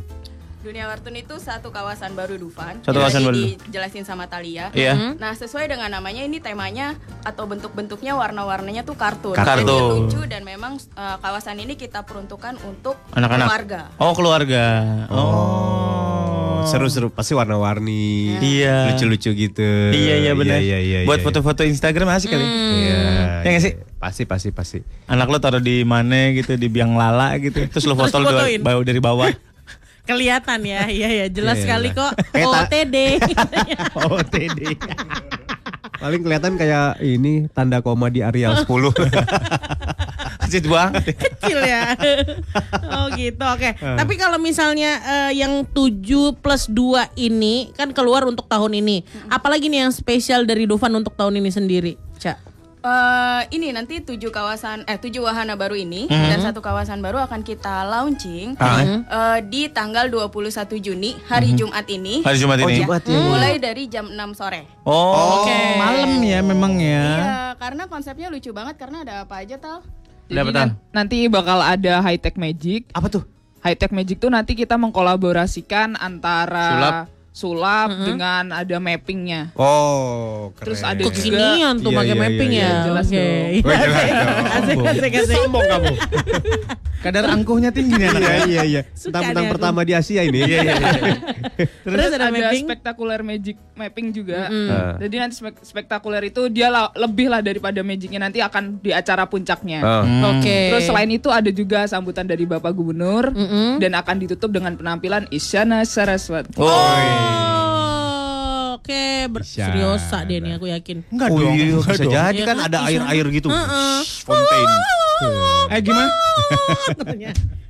Speaker 4: Dunia Kartun itu satu kawasan baru Dufan.
Speaker 1: Satu
Speaker 4: Yang
Speaker 1: kawasan
Speaker 4: tadi
Speaker 1: baru.
Speaker 4: Dijelasin sama Talia.
Speaker 1: Iya.
Speaker 4: Mhm. Nah, sesuai dengan namanya ini temanya atau bentuk-bentuknya warna-warnanya tuh kartun.
Speaker 1: Kartun.
Speaker 4: Jadi lucu dan memang eh, kawasan ini kita peruntukkan untuk
Speaker 1: Anak-anak.
Speaker 4: keluarga.
Speaker 1: Oh keluarga. Oh.
Speaker 3: Oh, Seru-seru pasti warna-warni.
Speaker 1: Iya.
Speaker 3: Lucu-lucu gitu.
Speaker 1: Iya iya benar.
Speaker 3: Iya iya iya.
Speaker 1: Buat
Speaker 3: iya.
Speaker 1: foto-foto Instagram asik kali.
Speaker 3: Iya.
Speaker 1: Ya nggak sih?
Speaker 3: Pasti pasti pasti.
Speaker 1: Anak lo taruh di mana gitu, di biang lala gitu. Terus lo
Speaker 2: Terus
Speaker 1: foto dari
Speaker 2: fotoin.
Speaker 1: bawah. Dari bawah.
Speaker 2: Kelihatan ya, iya ya, jelas
Speaker 1: Iya, iya,
Speaker 2: sekali
Speaker 1: benar.
Speaker 2: kok.
Speaker 1: Kayak tak-
Speaker 2: OTD.
Speaker 1: Oh, OTD.
Speaker 3: Paling kelihatan kayak ini tanda koma di Arial 10.
Speaker 1: Kecil banget.
Speaker 2: Kecil ya. Oh gitu, oke.
Speaker 3: Hmm.
Speaker 2: Tapi kalau misalnya eh, yang 7 plus 2 ini kan keluar untuk tahun ini. Apalagi nih yang spesial dari Dufan untuk tahun ini sendiri, Ca?
Speaker 4: Eh, ini nanti tujuh kawasan eh tujuh wahana baru ini
Speaker 1: Hmm.
Speaker 2: Mhm.
Speaker 4: dan satu kawasan baru akan kita launching
Speaker 1: Ah.
Speaker 4: eh, di tanggal 21 Juni hari
Speaker 1: Hmm.
Speaker 4: Jumat ini.
Speaker 1: Hari Jumat
Speaker 4: Ya,
Speaker 1: ini. Jumat ya.
Speaker 4: Mulai dari jam 6 sore.
Speaker 1: Oh, malam ya memang ya.
Speaker 4: Iya, karena konsepnya lucu banget karena ada apa aja tal?
Speaker 1: Udah betul.
Speaker 11: Nanti bakal ada high tech magic.
Speaker 1: Apa tuh?
Speaker 11: High tech magic tuh nanti kita mengkolaborasikan antara
Speaker 3: Sulap.
Speaker 11: sulap
Speaker 2: Mm-hmm.
Speaker 11: dengan ada mappingnya.
Speaker 3: Oh, keren.
Speaker 11: Terus ada juga-
Speaker 2: Kekinian tuh
Speaker 3: Iya,
Speaker 2: pakai
Speaker 3: iya,
Speaker 2: mapping
Speaker 3: iya,
Speaker 2: ya.
Speaker 3: iya.
Speaker 11: Jelas
Speaker 2: Oke. iya.
Speaker 3: Oh, jelas
Speaker 2: Asik,
Speaker 3: dong.
Speaker 4: Iya.
Speaker 1: Iya,
Speaker 2: asik, asik.
Speaker 3: Sombong kamu.
Speaker 1: Kadar angkuhnya tinggi nih
Speaker 3: Iya
Speaker 1: anaknya.
Speaker 3: iya iya.
Speaker 11: Suka
Speaker 3: Tentang
Speaker 11: nih aku.
Speaker 3: pertama di Asia ini.
Speaker 1: Iya, iya, iya.
Speaker 11: Terus, ada,
Speaker 2: mapping?
Speaker 11: spektakuler magic mapping juga.
Speaker 3: Ah.
Speaker 11: Jadi nanti spek- spektakuler itu dia la- lebih lah daripada magicnya nanti akan di acara puncaknya.
Speaker 3: Ah. Hmm.
Speaker 2: Oke.
Speaker 11: Terus selain itu ada juga sambutan dari Bapak Gubernur
Speaker 2: Mm-mm.
Speaker 11: dan akan ditutup dengan penampilan Isyana Saraswati.
Speaker 2: Oh, Oke, ber-
Speaker 3: Bisa.
Speaker 2: seriosa deh nih aku yakin.
Speaker 1: Enggak
Speaker 3: Oh,
Speaker 1: dong.
Speaker 3: iya,
Speaker 1: enggak
Speaker 3: bisa
Speaker 1: dong.
Speaker 3: jadi
Speaker 2: Iya
Speaker 3: kan
Speaker 2: kan,
Speaker 3: ada
Speaker 2: bisa.
Speaker 3: air-air gitu.
Speaker 2: Heeh.
Speaker 3: Fontain.
Speaker 4: Iya.
Speaker 1: Eh gimana?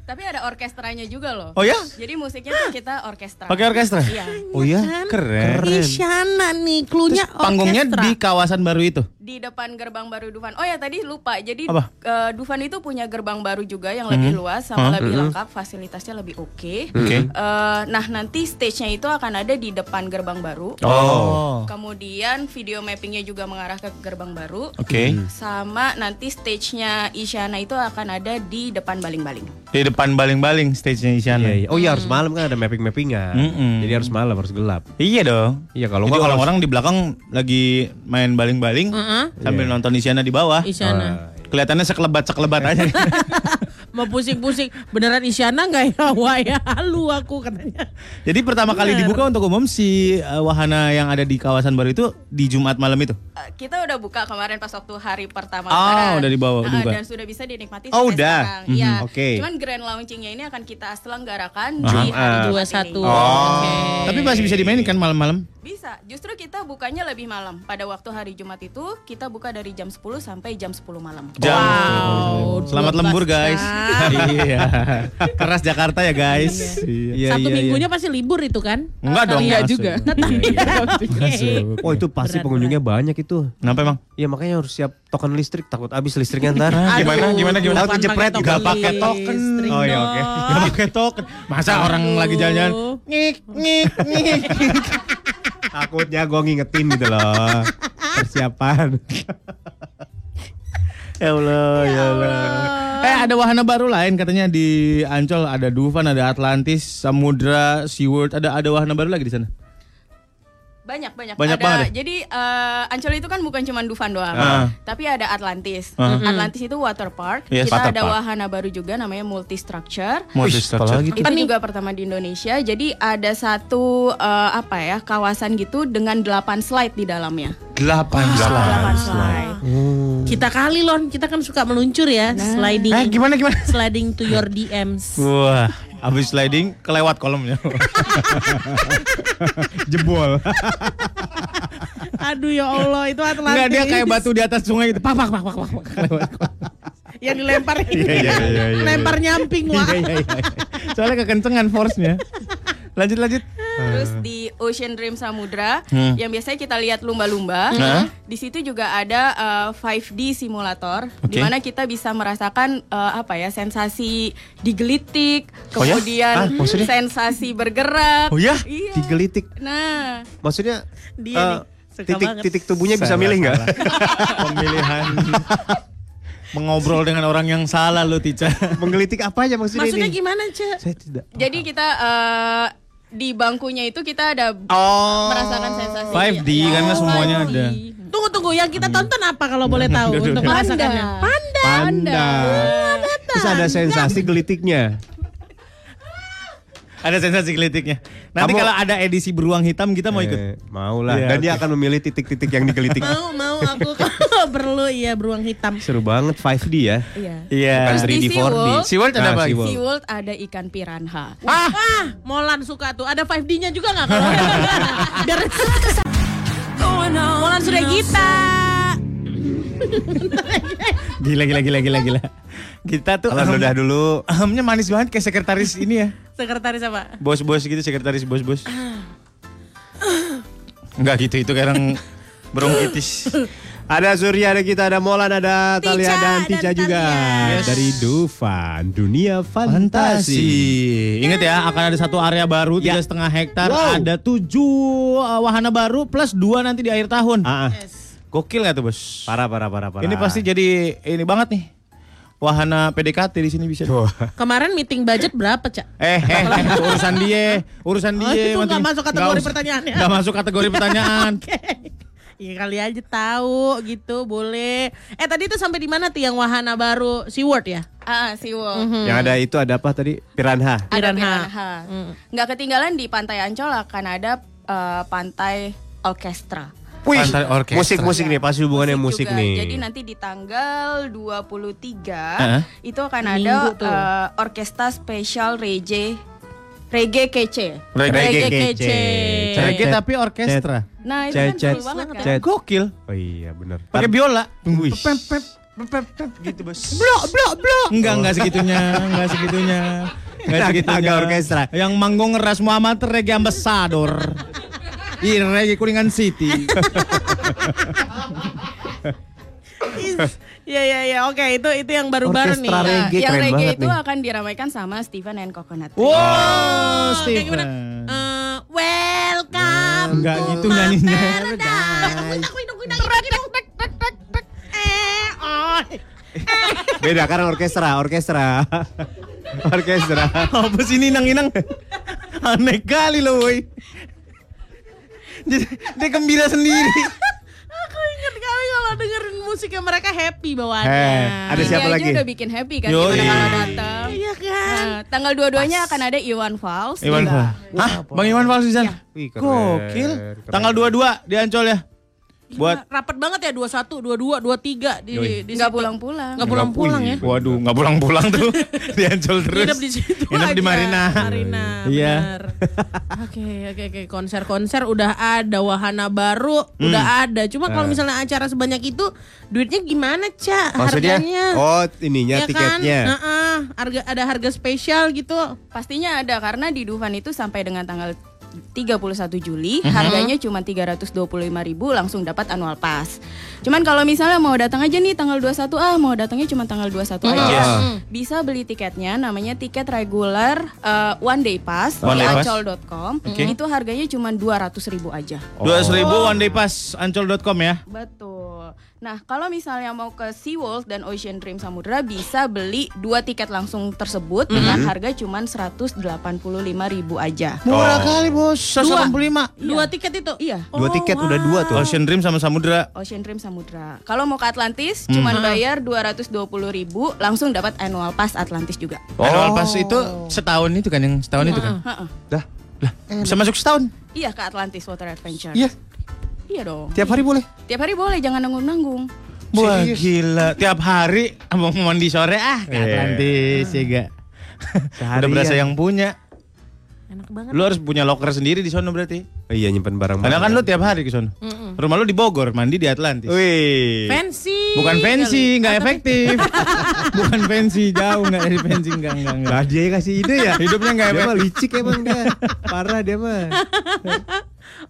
Speaker 4: Tapi ada orkestranya juga loh.
Speaker 1: Oh ya?
Speaker 4: Jadi musiknya tuh kita orkestra.
Speaker 1: Pakai orkestra?
Speaker 4: Iya.
Speaker 1: Oh iya, keren.
Speaker 2: Isyana nih, klunya
Speaker 1: Panggungnya
Speaker 2: orkestra.
Speaker 1: di kawasan baru itu.
Speaker 4: Di depan gerbang baru Dufan. Oh ya tadi lupa. Jadi
Speaker 1: Apa?
Speaker 4: eh, Dufan itu punya gerbang baru juga yang
Speaker 1: Mhm.
Speaker 4: lebih luas
Speaker 1: Hah?
Speaker 4: sama
Speaker 1: Mhm.
Speaker 4: lebih lengkap, fasilitasnya lebih oke.
Speaker 1: Oke.
Speaker 4: Eh, nah nanti stage-nya itu akan ada di depan gerbang baru.
Speaker 1: Oh.
Speaker 4: Kemudian video mappingnya juga mengarah ke gerbang baru.
Speaker 1: Oke.
Speaker 4: Sama nanti stage-nya Isyana itu akan ada di depan baling-baling.
Speaker 1: Di depan baling-baling stage-nya Isyana.
Speaker 3: Iya, iya. Oh iya harus malam kan ada mapping-mappingan.
Speaker 1: Mm-mm.
Speaker 3: Jadi harus malam, harus gelap.
Speaker 1: Iya dong.
Speaker 3: Iya kalau
Speaker 1: Jadi
Speaker 3: nggak kalau
Speaker 1: orang-orang di belakang lagi main baling-baling
Speaker 2: Heeh.
Speaker 1: sambil nonton Isyana di bawah.
Speaker 2: Isyana.
Speaker 1: Ah, Kelihatannya sekelebat-sekelebat aja.
Speaker 2: Mau pusing-pusing. Beneran Isyana nggak ya? Wah ya halu aku katanya.
Speaker 1: Jadi pertama kali
Speaker 2: Bener.
Speaker 1: dibuka untuk umum si eh, wahana yang ada di kawasan baru itu di Jumat malam itu.
Speaker 4: Eh, kita udah buka kemarin pas waktu hari pertama
Speaker 1: Ah,
Speaker 4: lebaran.
Speaker 1: udah dibawa,
Speaker 4: Ah,
Speaker 1: dibuka.
Speaker 4: dan sudah bisa dinikmati
Speaker 1: Oh,
Speaker 4: sampai
Speaker 1: udah.
Speaker 4: sekarang.
Speaker 1: Mhm,
Speaker 4: Iya.
Speaker 3: oke.
Speaker 4: Cuman grand launchingnya ini akan kita selenggarakan
Speaker 1: Aha.
Speaker 4: di hari
Speaker 2: Dua
Speaker 4: Jumat
Speaker 2: satu.
Speaker 1: Oh.
Speaker 4: ini.
Speaker 1: Tapi masih bisa dimainin kan malam-malam?
Speaker 4: Bisa. Justru kita bukanya lebih malam. Pada waktu hari Jumat itu kita buka dari jam 10 sampai jam 10 malam.
Speaker 1: Jam.
Speaker 2: Wow.
Speaker 1: Selamat
Speaker 2: 12
Speaker 1: lembur guys.
Speaker 2: kan.
Speaker 1: iya. Keras Jakarta ya guys.
Speaker 3: Iya,
Speaker 2: Satu
Speaker 3: iya, iya.
Speaker 2: minggunya pasti libur itu kan?
Speaker 1: Enggak dong.
Speaker 11: Iya
Speaker 1: masuk. iya.
Speaker 11: juga.
Speaker 1: Masuk.
Speaker 3: Oh itu pasti
Speaker 2: Berat,
Speaker 3: pengunjungnya banyak itu.
Speaker 1: Kenapa emang?
Speaker 3: Iya makanya harus siap token listrik takut habis listriknya ntar.
Speaker 1: Ah, gimana gimana gimana?
Speaker 3: Takut kejepret juga.
Speaker 1: Gak pakai token.
Speaker 2: Oh iya
Speaker 1: oke. Gak pakai token. Masa orang lagi jalan-jalan ngik ngik ngik.
Speaker 3: Takutnya gue ngingetin gitu loh. Persiapan.
Speaker 1: ya Allah, ya Allah. Eh ada wahana baru lain katanya di Ancol ada Dufan, ada Atlantis, Samudra, SeaWorld, ada ada wahana baru lagi di sana.
Speaker 4: Banyak, banyak.
Speaker 1: Banyak
Speaker 4: ada,
Speaker 1: banget ya?
Speaker 4: Jadi eh, Ancol itu kan bukan cuma Dufan doang,
Speaker 1: Ah.
Speaker 4: tapi ada Atlantis.
Speaker 1: Ah.
Speaker 4: Atlantis itu water park.
Speaker 1: Yes,
Speaker 4: Kita
Speaker 1: water
Speaker 4: ada
Speaker 1: park.
Speaker 4: wahana baru juga namanya multi structure.
Speaker 1: Multi structure.
Speaker 4: Itu juga pertama di Indonesia. Jadi ada satu eh, apa ya kawasan gitu dengan 8 slide di dalamnya.
Speaker 1: Delapan slide.
Speaker 2: Kita kali Lon, kita kan suka meluncur ya, sliding.
Speaker 1: Eh, gimana gimana?
Speaker 2: Sliding to your DMs.
Speaker 1: Wah, habis sliding kelewat kolomnya. Jebol.
Speaker 2: Aduh ya Allah, itu Atlantis.
Speaker 1: Enggak dia kayak batu di atas sungai gitu. Pak pak pak pak pak. pak.
Speaker 2: Yang dilempar ini.
Speaker 1: Iya, iya, iya, iya.
Speaker 2: Lempar nyamping wah.
Speaker 1: Iya, iya, iya. Soalnya kekencengan force-nya. Lanjut lanjut.
Speaker 3: Hmm.
Speaker 4: Terus di Ocean Dream Samudra
Speaker 1: Hmm.
Speaker 4: yang biasanya kita lihat
Speaker 1: Hmm.
Speaker 4: lumba-lumba,
Speaker 3: Nah.
Speaker 4: di situ juga ada eh, 5D simulator
Speaker 1: Oke.
Speaker 4: di mana kita bisa merasakan eh, apa ya sensasi digelitik,
Speaker 3: Oh ya? Ah,
Speaker 4: kemudian
Speaker 3: maksudnya?
Speaker 4: sensasi bergerak.
Speaker 3: Oh ya?
Speaker 4: Iya.
Speaker 3: Digelitik.
Speaker 4: Nah,
Speaker 3: Maksudnya
Speaker 4: Dia
Speaker 3: eh,
Speaker 4: nih, suka
Speaker 3: titik
Speaker 4: banget.
Speaker 3: titik tubuhnya bisa
Speaker 1: Salah,
Speaker 3: milih nggak?
Speaker 1: Pemilihan mengobrol dengan orang yang salah lo Tica.
Speaker 3: Menggelitik apa aja maksudnya,
Speaker 2: Maksudnya gimana, Ce?
Speaker 4: jadi kita eh, di bangkunya itu kita ada
Speaker 3: Oh.
Speaker 1: Oh.
Speaker 4: merasakan sensasi Ya, Oh,
Speaker 1: 5D
Speaker 3: kan
Speaker 1: karena kan, semuanya ada.
Speaker 2: Tunggu tunggu yang kita tonton apa kalau boleh tahu
Speaker 1: Aduh,
Speaker 2: untuk
Speaker 1: aduh.
Speaker 2: merasakannya?
Speaker 4: Nah.
Speaker 2: Panda.
Speaker 3: Panda. Terus ada sensasi gelitiknya.
Speaker 1: Ada sensasi gelitiknya. Nanti
Speaker 3: Kamu-
Speaker 1: kalau ada edisi beruang hitam kita mau ikut.
Speaker 3: Eh, mau lah.
Speaker 1: Iya,
Speaker 3: Dan dia
Speaker 1: oke.
Speaker 3: akan memilih titik-titik yang digelitik.
Speaker 2: Mau mau aku kalau perlu ya beruang hitam.
Speaker 3: Seru banget 5D ya.
Speaker 4: Iya.
Speaker 1: Iya.
Speaker 3: Bukan
Speaker 4: Terus di
Speaker 3: 3D, 4D.
Speaker 4: SeaWorld,
Speaker 3: Nah,
Speaker 4: SeaWorld ada ikan piranha.
Speaker 2: Ah, Molan suka tuh. Ada 5D-nya juga nggak kalau? Biar Molan sudah
Speaker 1: Nah.
Speaker 2: kita.
Speaker 1: Gila gila gila gila gila. Kita tuh
Speaker 3: Alam ludah dulu.
Speaker 1: Ahamnya manis banget kayak sekretaris ini ya.
Speaker 2: Sekretaris apa?
Speaker 1: Bos-bos gitu sekretaris bos-bos.
Speaker 4: Ah.
Speaker 1: Enggak gitu itu kadang bronkitis.
Speaker 3: Ada Surya, ada kita, ada Molan, ada Talia dan Tica juga. Dari Dufan, dunia fantasi.
Speaker 1: Fantasi. Ingat ya, akan ada satu area baru
Speaker 2: Ya.
Speaker 1: tiga setengah hektar,
Speaker 3: Wow.
Speaker 1: ada tujuh uh, wahana baru plus dua nanti di akhir tahun.
Speaker 3: Ah, ah.
Speaker 1: Gokil nggak tuh bos?
Speaker 3: Parah, parah, parah, parah.
Speaker 1: Ini pasti jadi ini banget nih. Wahana PDKT di sini bisa.
Speaker 2: Kemarin meeting budget berapa, Cak?
Speaker 1: Eh, eh, eh, itu urusan dia, urusan dia.
Speaker 2: Oh, itu
Speaker 1: penting.
Speaker 2: nggak masuk kategori
Speaker 1: Nggak us-
Speaker 2: pertanyaan ya?
Speaker 1: Nggak masuk kategori pertanyaan.
Speaker 2: Oke. Iya kali aja tahu gitu boleh. Eh tadi tuh sampai di mana tuh yang wahana baru SeaWorld ya?
Speaker 4: Ah, SeaWorld.
Speaker 3: Yang ada itu ada apa tadi? Piranha.
Speaker 4: Ada
Speaker 2: Piranha.
Speaker 4: piranha.
Speaker 2: Hmm.
Speaker 4: Nggak ketinggalan di Pantai Ancol akan ada eh, pantai orkestra.
Speaker 3: Wih,
Speaker 1: Pantai orkestra.
Speaker 3: musik-musik nih, pasti hubungannya musik,
Speaker 4: juga.
Speaker 3: nih.
Speaker 4: Jadi nanti di tanggal 23
Speaker 1: Heeh.
Speaker 4: itu akan ada
Speaker 2: Minggu tuh.
Speaker 4: eh, orkestra spesial reggae reggae kece.
Speaker 1: Reggae
Speaker 3: kece.
Speaker 1: Reggae tapi orkestra.
Speaker 4: Nah, itu
Speaker 3: Cet,
Speaker 4: kan
Speaker 3: cet,
Speaker 4: seru banget kan?
Speaker 3: cet.
Speaker 1: Gokil.
Speaker 3: Oh iya, bener.
Speaker 1: Pakai biola.
Speaker 3: Wih.
Speaker 1: Pep, pep, pep, pep, pep, gitu bos. Blok, blok, blok. Enggak, enggak segitunya, enggak segitunya. Enggak
Speaker 3: Oh. Agak-
Speaker 1: segitunya.
Speaker 3: agak orkestra.
Speaker 1: Yang manggung ngeras Muhammad reggae ambassador. Ih, reggae Iya, Kuningan City.
Speaker 2: Is- Iya iya iya oke itu itu yang baru-baru nih.
Speaker 3: Orkestra
Speaker 4: Nah,
Speaker 3: reggae
Speaker 4: yang
Speaker 3: keren
Speaker 4: reggae
Speaker 3: banget
Speaker 4: itu
Speaker 3: nih.
Speaker 4: akan diramaikan sama Steven and Coconut. Tree.
Speaker 1: wow,
Speaker 2: Oh, kayak
Speaker 1: Steven.
Speaker 2: gimana? Eh, welcome.
Speaker 1: Enggak Hmm. gitu nyanyinya.
Speaker 2: Eh, oh.
Speaker 3: Beda karena orkestra, orkestra. orkestra.
Speaker 1: Apa sih ini inang-inang? Aneh kali loh, woi. Jadi, dia gembira sendiri.
Speaker 2: Aku inget kali kalau dengerin musiknya mereka happy bawaannya.
Speaker 3: Eh, ada
Speaker 4: Iya, Dia
Speaker 3: siapa
Speaker 4: aja
Speaker 3: lagi?
Speaker 4: udah bikin happy kan
Speaker 1: Yoi.
Speaker 4: gimana kalau datang.
Speaker 2: Iya kan?
Speaker 4: Nah, tanggal dua-duanya akan ada Iwan Fals.
Speaker 1: Iwan
Speaker 4: juga.
Speaker 1: Fals. Hah? Bang Iwan Fals di sana?
Speaker 3: Wih, keren,
Speaker 1: Gokil.
Speaker 3: keren.
Speaker 1: Tanggal 22 di Ancol ya. Buat
Speaker 2: rapat banget ya 21, 22, 23 di di
Speaker 4: Nggak
Speaker 2: situ.
Speaker 4: pulang-pulang.
Speaker 2: Nggak pulang-pulang ya.
Speaker 1: Waduh, nggak pulang-pulang tuh. di Ancol terus.
Speaker 2: Nginep di situ
Speaker 1: Nginep di
Speaker 2: aja.
Speaker 1: Marina.
Speaker 2: Marina,
Speaker 1: Iya.
Speaker 2: benar. Oke, oke, oke. Konser-konser udah ada, wahana baru
Speaker 1: Hmm.
Speaker 2: udah ada. Cuma
Speaker 1: Eh.
Speaker 2: kalau misalnya acara sebanyak itu, duitnya gimana, Ca?
Speaker 3: Maksudnya?
Speaker 2: Harganya?
Speaker 3: Oh, ininya
Speaker 2: Iya
Speaker 3: tiketnya.
Speaker 2: Kan? Heeh, harga ada harga spesial gitu.
Speaker 4: Pastinya ada karena di Dufan itu sampai dengan tanggal 23 31 Juli,
Speaker 7: Mhm.
Speaker 4: harganya cuma 325.000 langsung dapat annual pass. Cuman kalau misalnya mau datang aja nih tanggal 21 ah, mau datangnya cuma tanggal 21
Speaker 1: Mhm.
Speaker 4: aja.
Speaker 1: Iya.
Speaker 7: Yes.
Speaker 4: Bisa beli tiketnya namanya tiket reguler eh, one day pass
Speaker 1: One
Speaker 4: di
Speaker 1: day pass.
Speaker 4: acol.com.
Speaker 1: Oke.
Speaker 4: Itu harganya cuma 200.000 aja.
Speaker 1: Dua ribu one day pass ancol.com ya.
Speaker 4: Betul. Nah, kalau misalnya mau ke SeaWorld dan Ocean Dream Samudra bisa beli dua tiket langsung tersebut dengan
Speaker 1: Mhm.
Speaker 4: harga cuman 185.000 aja.
Speaker 1: Murah kali, Bos.
Speaker 4: Dua.
Speaker 1: 185.
Speaker 4: Dua tiket itu? Iya.
Speaker 3: Oh,
Speaker 1: Dua tiket udah dua tuh. Ocean Dream sama Samudra.
Speaker 4: Ocean Dream Samudra. Kalau mau ke Atlantis
Speaker 1: Hmm.
Speaker 4: cuman
Speaker 1: Ah.
Speaker 4: bayar 220.000 langsung dapat annual pass Atlantis juga.
Speaker 1: Annual pass itu setahun itu kan yang setahun itu kan.
Speaker 4: Heeh.
Speaker 1: Bisa masuk setahun.
Speaker 4: Iya ke Atlantis Water Adventure.
Speaker 1: Iya.
Speaker 4: Iya dong.
Speaker 1: Tiap hari boleh.
Speaker 4: Tiap hari boleh, jangan nanggung-nanggung.
Speaker 1: Wah gila, tiap hari abang mandi sore ah ke
Speaker 12: Iya.
Speaker 1: Atlantis ya gak? Udah berasa yang punya. Lu harus punya locker sendiri di sono berarti.
Speaker 5: Hmm.
Speaker 3: Iya nyimpen barang.
Speaker 1: Karena kan lu tiap hari ke sono.
Speaker 2: Mm-mm.
Speaker 1: Rumah lu di Bogor, mandi di Atlantis.
Speaker 3: Wih.
Speaker 2: Fancy.
Speaker 1: Bukan fancy,
Speaker 2: kali.
Speaker 1: nggak
Speaker 2: Ah, tapi-
Speaker 1: efektif. Bukan fancy, jauh nggak dari fancy, nggak nggak nggak.
Speaker 3: dia yang kasih ide ya.
Speaker 1: Hidupnya nggak
Speaker 3: Dia mah
Speaker 1: efektif.
Speaker 3: licik emang dia. Parah dia mah.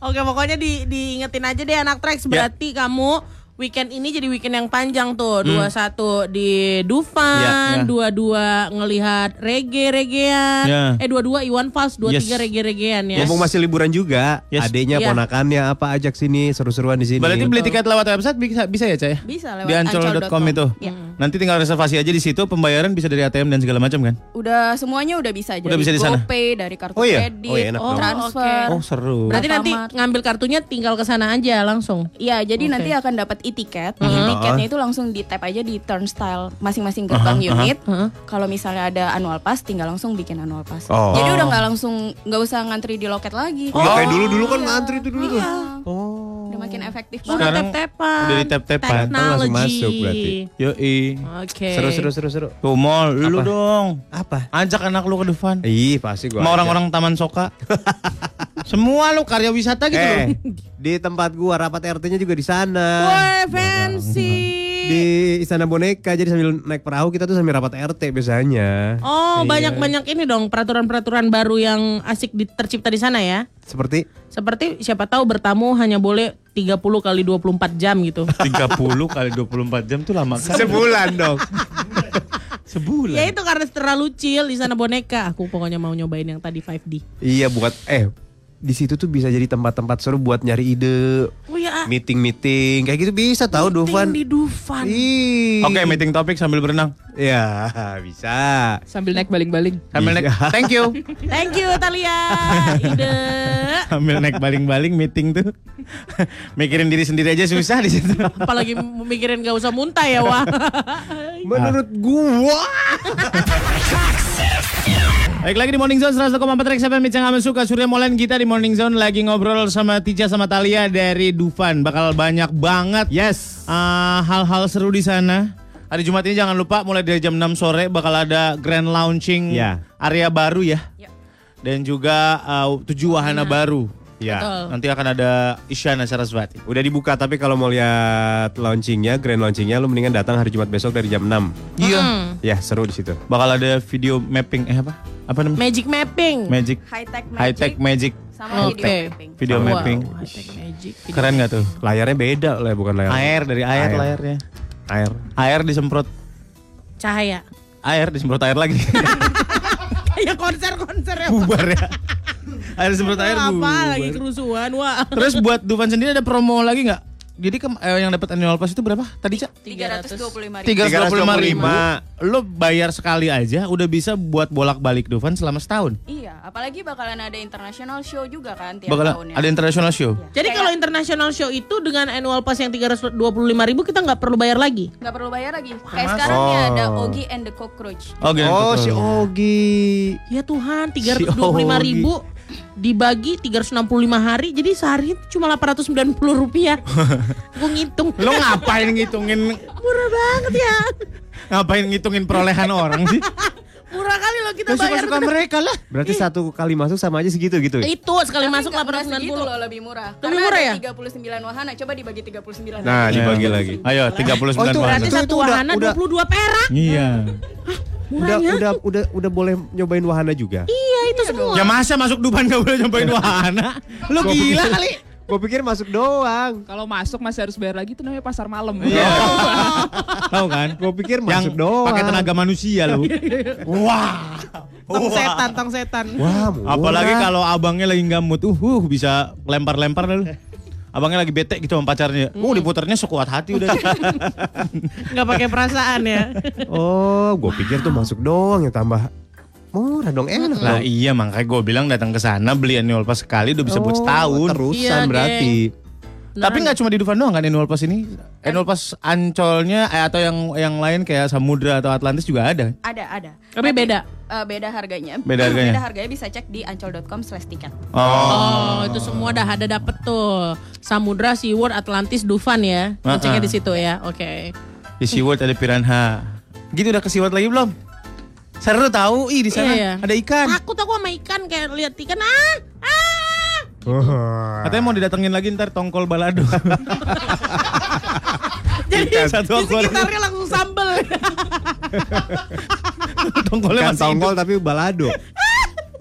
Speaker 2: Oke, pokoknya di, diingetin aja deh anak Trax berarti kamu weekend ini jadi weekend yang panjang tuh.
Speaker 1: Ya. Hmm.
Speaker 2: 21 di Dufan,
Speaker 1: Ya, ya.
Speaker 2: 22 ngelihat reggae-reggaean.
Speaker 3: Ya.
Speaker 2: Eh 22 Iwan Fals, 23
Speaker 3: Yes.
Speaker 2: reggae-reggaean ya.
Speaker 3: Mumpung masih liburan juga, adeknya,
Speaker 2: Iya.
Speaker 3: ponakannya apa ajak sini seru-seruan di sini.
Speaker 1: Berarti beli tiket lewat website bisa bisa ya, Cah?
Speaker 4: Bisa lewat
Speaker 1: Di ancol.com itu. Hmm.
Speaker 4: Iya.
Speaker 1: Nanti tinggal reservasi aja di situ, pembayaran bisa dari ATM dan segala macam kan?
Speaker 4: Udah semuanya udah bisa
Speaker 1: Udah
Speaker 4: dari
Speaker 1: bisa di sana?
Speaker 4: GoPay, dari kartu
Speaker 1: Oh iya?
Speaker 4: kredit,
Speaker 1: Oh iya, enak dong.
Speaker 4: transfer.
Speaker 1: Oh, seru.
Speaker 2: Berarti nanti ngambil kartunya tinggal ke sana aja langsung.
Speaker 4: Iya, jadi
Speaker 2: Oke.
Speaker 4: nanti akan dapat e-ticket.
Speaker 1: Ah.
Speaker 2: Mhm.
Speaker 4: E-tiketnya itu langsung di tap aja di turnstile masing-masing gerbang
Speaker 2: Aha, aha.
Speaker 4: unit. Kalau misalnya ada annual pass, tinggal langsung bikin annual pass.
Speaker 3: Oh.
Speaker 4: Jadi udah nggak langsung nggak usah ngantri di loket
Speaker 1: Iya,
Speaker 4: lagi.
Speaker 3: Nggak kayak dulu-dulu kan ngantri
Speaker 4: itu dulu. Iya.
Speaker 1: Oh.
Speaker 4: Udah makin
Speaker 2: Oh.
Speaker 4: efektif.
Speaker 2: Udah
Speaker 1: Sekarang
Speaker 2: tap-tapan.
Speaker 1: Udah di tap-tapan.
Speaker 2: Teknologi.
Speaker 1: Yoi.
Speaker 2: Oke.
Speaker 3: Seru seru seru seru.
Speaker 1: Tuh mall, lu dong.
Speaker 3: Apa?
Speaker 1: Ajak anak lu ke depan.
Speaker 3: Ih, pasti gua.
Speaker 1: Sama
Speaker 3: ajak.
Speaker 1: orang-orang Taman Soka. Semua lu karya wisata gitu
Speaker 3: eh,
Speaker 1: loh.
Speaker 3: di tempat gua rapat RT-nya juga di sana. Nah,
Speaker 2: Woi, fancy.
Speaker 3: Di Istana Boneka jadi sambil naik perahu kita tuh sambil rapat RT biasanya.
Speaker 2: Oh,
Speaker 3: Iya.
Speaker 2: banyak-banyak ini dong peraturan-peraturan baru yang asik di- tercipta di sana ya.
Speaker 3: Seperti
Speaker 2: Seperti siapa tahu bertamu hanya boleh 30 kali 24 jam gitu.
Speaker 1: 30 kali 24 jam tuh lama kali.
Speaker 3: sebulan dong.
Speaker 1: Sebulan.
Speaker 2: ya itu karena terlalu chill di sana boneka. Aku pokoknya mau nyobain yang tadi 5D.
Speaker 3: Iya buat eh di situ tuh bisa jadi tempat-tempat seru buat nyari ide,
Speaker 2: Oh ya,
Speaker 3: meeting-meeting kayak gitu bisa tahu Dufan.
Speaker 2: di Dufan.
Speaker 1: Iya. Oke, meeting topik sambil berenang.
Speaker 3: Ya, bisa.
Speaker 11: Sambil naik baling-baling.
Speaker 1: Sambil naik. Thank you.
Speaker 2: Thank you Talia. Ide. Eh.
Speaker 1: Sambil naik baling-baling meeting tuh. Mikirin diri sendiri aja susah di situ.
Speaker 2: Apalagi mikirin gak usah muntah ya, Wah.
Speaker 3: Menurut gua
Speaker 1: Baik lagi di Morning Zone 101,4 Rex FM Mitchang Amin Suka Surya Molen kita di Morning Zone lagi ngobrol sama Tica sama Talia dari Dufan bakal banyak banget
Speaker 3: yes
Speaker 1: eh, hal-hal seru di sana hari Jumat ini jangan lupa mulai dari jam 6 sore bakal ada grand launching
Speaker 3: Ya.
Speaker 1: area baru ya dan juga eh, tujuh
Speaker 4: Iya.
Speaker 1: wahana baru
Speaker 3: Ya.
Speaker 2: Betul.
Speaker 1: nanti akan ada Isyana Saraswati
Speaker 3: Udah dibuka tapi kalau mau lihat launchingnya, grand launchingnya lu mendingan datang hari Jumat besok dari jam 6.
Speaker 1: iya
Speaker 2: Hmm.
Speaker 3: Ya, seru di situ.
Speaker 1: bakal ada video mapping eh apa apa namanya
Speaker 2: Magic mapping.
Speaker 1: magic
Speaker 4: High tech magic.
Speaker 1: high tech magic
Speaker 4: Sama
Speaker 2: Oke.
Speaker 4: video mapping.
Speaker 1: video
Speaker 2: Wow,
Speaker 1: mapping
Speaker 2: high-tech magic.
Speaker 1: keren nggak tuh
Speaker 3: Layarnya beda lah bukan layar.
Speaker 1: air dari air,
Speaker 3: Air.
Speaker 1: layarnya
Speaker 3: Air.
Speaker 1: air disemprot
Speaker 2: Cahaya.
Speaker 1: air disemprot air lagi
Speaker 2: ya konser-konser ya. Wak.
Speaker 1: bubar ya air disemprot air
Speaker 2: Apa
Speaker 1: bubar
Speaker 2: lagi kerusuhan, Wah.
Speaker 1: terus buat Dufan sendiri ada promo lagi nggak jadi kem- eh, yang dapat annual pass itu berapa tadi cak
Speaker 4: 325.000.
Speaker 1: tiga ratus ribu
Speaker 3: 325.000.
Speaker 1: lo bayar sekali aja udah bisa buat bolak balik Dufan selama setahun
Speaker 4: Iya, apalagi bakalan ada international show juga kan tiap
Speaker 1: bakal
Speaker 4: tahunnya.
Speaker 1: ada international show
Speaker 2: Jadi kalau international show itu dengan annual pass yang 325 ribu kita nggak perlu bayar lagi.
Speaker 4: nggak perlu bayar lagi. Kayak sekarang nih
Speaker 3: Oh.
Speaker 4: ada Ogi and the Cockroach.
Speaker 1: Oke,
Speaker 3: Oh,
Speaker 1: gitu. betul.
Speaker 3: si Ogi.
Speaker 2: Ya Tuhan, 325 ribu dibagi 365 hari, jadi sehari itu cuma 890 rupiah. Gue ngitung.
Speaker 1: lo ngapain ngitungin
Speaker 2: Murah banget ya.
Speaker 1: ngapain ngitungin perolehan orang sih
Speaker 2: Murah kali loh kita
Speaker 1: lo
Speaker 2: bayar. Iya,
Speaker 1: suka suka mereka lah
Speaker 3: Berarti satu kali masuk sama aja segitu gitu ya?
Speaker 2: Itu sekali
Speaker 4: Tapi
Speaker 2: masuk
Speaker 4: nggak- nggak segitu
Speaker 3: Nah,
Speaker 2: 890.
Speaker 4: loh lebih murah.
Speaker 2: Lebih murah ya?
Speaker 4: ada 39 wahana, coba dibagi 39.
Speaker 3: Nah,
Speaker 4: lagi.
Speaker 3: dibagi lagi.
Speaker 1: Iya. ayo 39 puluh
Speaker 2: Berarti
Speaker 3: Itu- itu
Speaker 2: satu
Speaker 3: udah-
Speaker 2: wahana
Speaker 3: udah-
Speaker 2: 22 perak.
Speaker 1: iya
Speaker 3: Udah,
Speaker 2: Murahnya
Speaker 3: udah, udah, udah boleh nyobain wahana juga.
Speaker 2: Iya itu semua.
Speaker 1: Ya masa masuk Duban gak boleh nyobain wahana? Lu
Speaker 3: Gua
Speaker 1: gila
Speaker 3: pikir-
Speaker 1: kali.
Speaker 3: Gue pikir masuk doang.
Speaker 11: Kalau masuk masih harus bayar lagi itu namanya pasar malam.
Speaker 1: Iya. Tahu kan?
Speaker 3: Gue pikir
Speaker 1: masuk Yang Pakai
Speaker 3: doang.
Speaker 1: tenaga manusia lu. Wah.
Speaker 2: Tong setan, tong setan.
Speaker 3: Wah,
Speaker 1: Apalagi kalau abangnya lagi gamut, uh, uh, bisa lempar-lempar dah lu. Abangnya lagi bete gitu sama pacarnya. Uh, diputarnya sekuat hati udah.
Speaker 2: Gak pakai perasaan ya.
Speaker 3: Oh, gue pikir tuh masuk doang ya tambah murah dong enak.
Speaker 1: lah
Speaker 3: dong.
Speaker 1: iya makanya gue bilang datang ke sana beli annual pass sekali udah bisa buat
Speaker 3: Oh,
Speaker 1: setahun.
Speaker 3: terusan Iya, berarti.
Speaker 1: Tapi nggak cuma di Dufan doang kan annual pass ini? Annual pass Ancolnya eh, atau yang yang lain kayak Samudra atau Atlantis juga ada.
Speaker 4: Ada, ada.
Speaker 2: Tapi beda.
Speaker 4: Eh, beda harganya.
Speaker 1: Beda harganya.
Speaker 4: Beda harganya bisa cek di ancol.com/tiket.
Speaker 2: Oh, itu semua dah ada dapet tuh. Samudra, Seaward, Atlantis, Dufan ya.
Speaker 1: Ah,
Speaker 2: Ngeceknya
Speaker 1: ah.
Speaker 2: di situ ya. Oke.
Speaker 1: Di SeaWorld ada piranha. Gitu udah ke SeaWorld lagi belum? Seru tahu ih di sana
Speaker 2: Iya, iya.
Speaker 1: ada ikan.
Speaker 2: Takut aku sama ikan kayak lihat ikan ah.
Speaker 1: Katanya mau didatengin lagi ntar tongkol balado.
Speaker 2: Jadi
Speaker 1: Ikan. Satu
Speaker 2: di
Speaker 1: akuarium.
Speaker 2: sekitarnya langsung sambel.
Speaker 1: Tongkolnya
Speaker 3: Ikan
Speaker 1: masih
Speaker 3: tongkol
Speaker 1: hidup.
Speaker 3: tapi balado.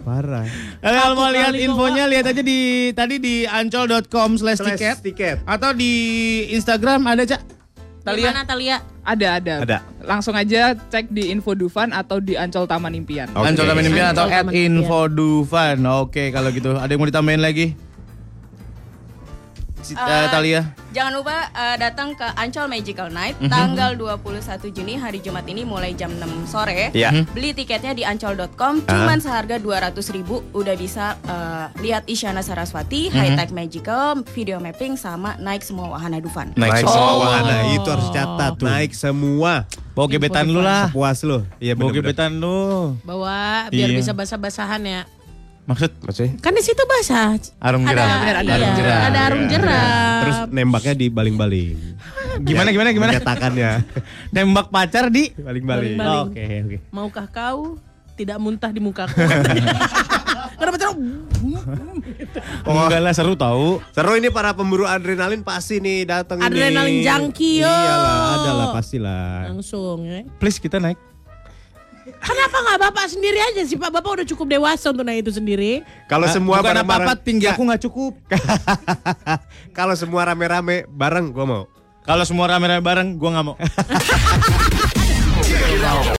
Speaker 3: Parah.
Speaker 1: Eh, Kalau mau lihat infonya lihat aja di tadi di ancol.com slash tiket
Speaker 3: tiket.
Speaker 1: atau di Instagram ada cak.
Speaker 11: Talia?
Speaker 2: Gimana Talia?
Speaker 11: Ada, ada.
Speaker 1: Ada.
Speaker 11: Langsung aja cek di Info Dufan atau di Ancol Taman Impian.
Speaker 1: Ancol Taman Impian Kan atau
Speaker 11: Ancol
Speaker 1: at
Speaker 11: Taman
Speaker 1: info Dufan. Oke kalau gitu ada yang mau ditambahin lagi? Si- eh,
Speaker 4: Eh,
Speaker 1: Talia.
Speaker 4: Jangan lupa eh, datang ke Ancol Magical Night
Speaker 1: Mhm.
Speaker 4: tanggal 21 Juni hari Jumat ini mulai jam 6 sore.
Speaker 1: Iya. Mhm.
Speaker 4: Beli tiketnya di ancol.com
Speaker 1: Ah.
Speaker 4: cuman seharga 200.000 udah bisa eh, lihat Isyana Saraswati,
Speaker 1: Mhm.
Speaker 4: High Tech Magical, video mapping sama naik semua wahana Dufan.
Speaker 3: Naik semua
Speaker 1: semua.
Speaker 3: wahana Nah, itu harus catat. Naik semua.
Speaker 1: Bawa gebetan lu lah.
Speaker 3: Puas lu. Iya
Speaker 1: Bawa
Speaker 3: bener-bener.
Speaker 1: gebetan lu.
Speaker 2: Bawa biar
Speaker 1: Iya.
Speaker 2: bisa basah-basahan ya.
Speaker 1: Maksud?
Speaker 3: Maksudnya?
Speaker 2: Kan di situ basah.
Speaker 1: Arung
Speaker 2: Ada,
Speaker 1: jeram.
Speaker 2: bener, ada arung jeram. Ada
Speaker 1: Iya,
Speaker 2: arung jeram.
Speaker 3: Terus nembaknya di baling-baling. Ya,
Speaker 1: Gimana gimana gimana?
Speaker 3: Katakannya
Speaker 1: Nembak pacar di
Speaker 3: baling-baling.
Speaker 2: Baling-baling.
Speaker 1: Oke oke.
Speaker 2: Maukah kau tidak muntah di mukaku? Karena pacar
Speaker 1: Enggak lah seru tahu.
Speaker 3: Seru ini para pemburu adrenalin pasti nih datang ini.
Speaker 2: Adrenalin junkie, yo.
Speaker 3: Iyalah, ada lah pastilah.
Speaker 2: langsung ya.
Speaker 1: Please kita naik.
Speaker 2: Kenapa nggak bapak sendiri aja sih pak? Bapak udah cukup dewasa untuk naik itu sendiri.
Speaker 3: Kalau
Speaker 1: Ah,
Speaker 3: semua
Speaker 1: bukan apa-apa
Speaker 3: bareng-bareng,
Speaker 1: tinggi aku nggak cukup.
Speaker 3: kalau semua rame-rame bareng gua mau.
Speaker 1: Kalau semua rame-rame bareng, gua nggak mau.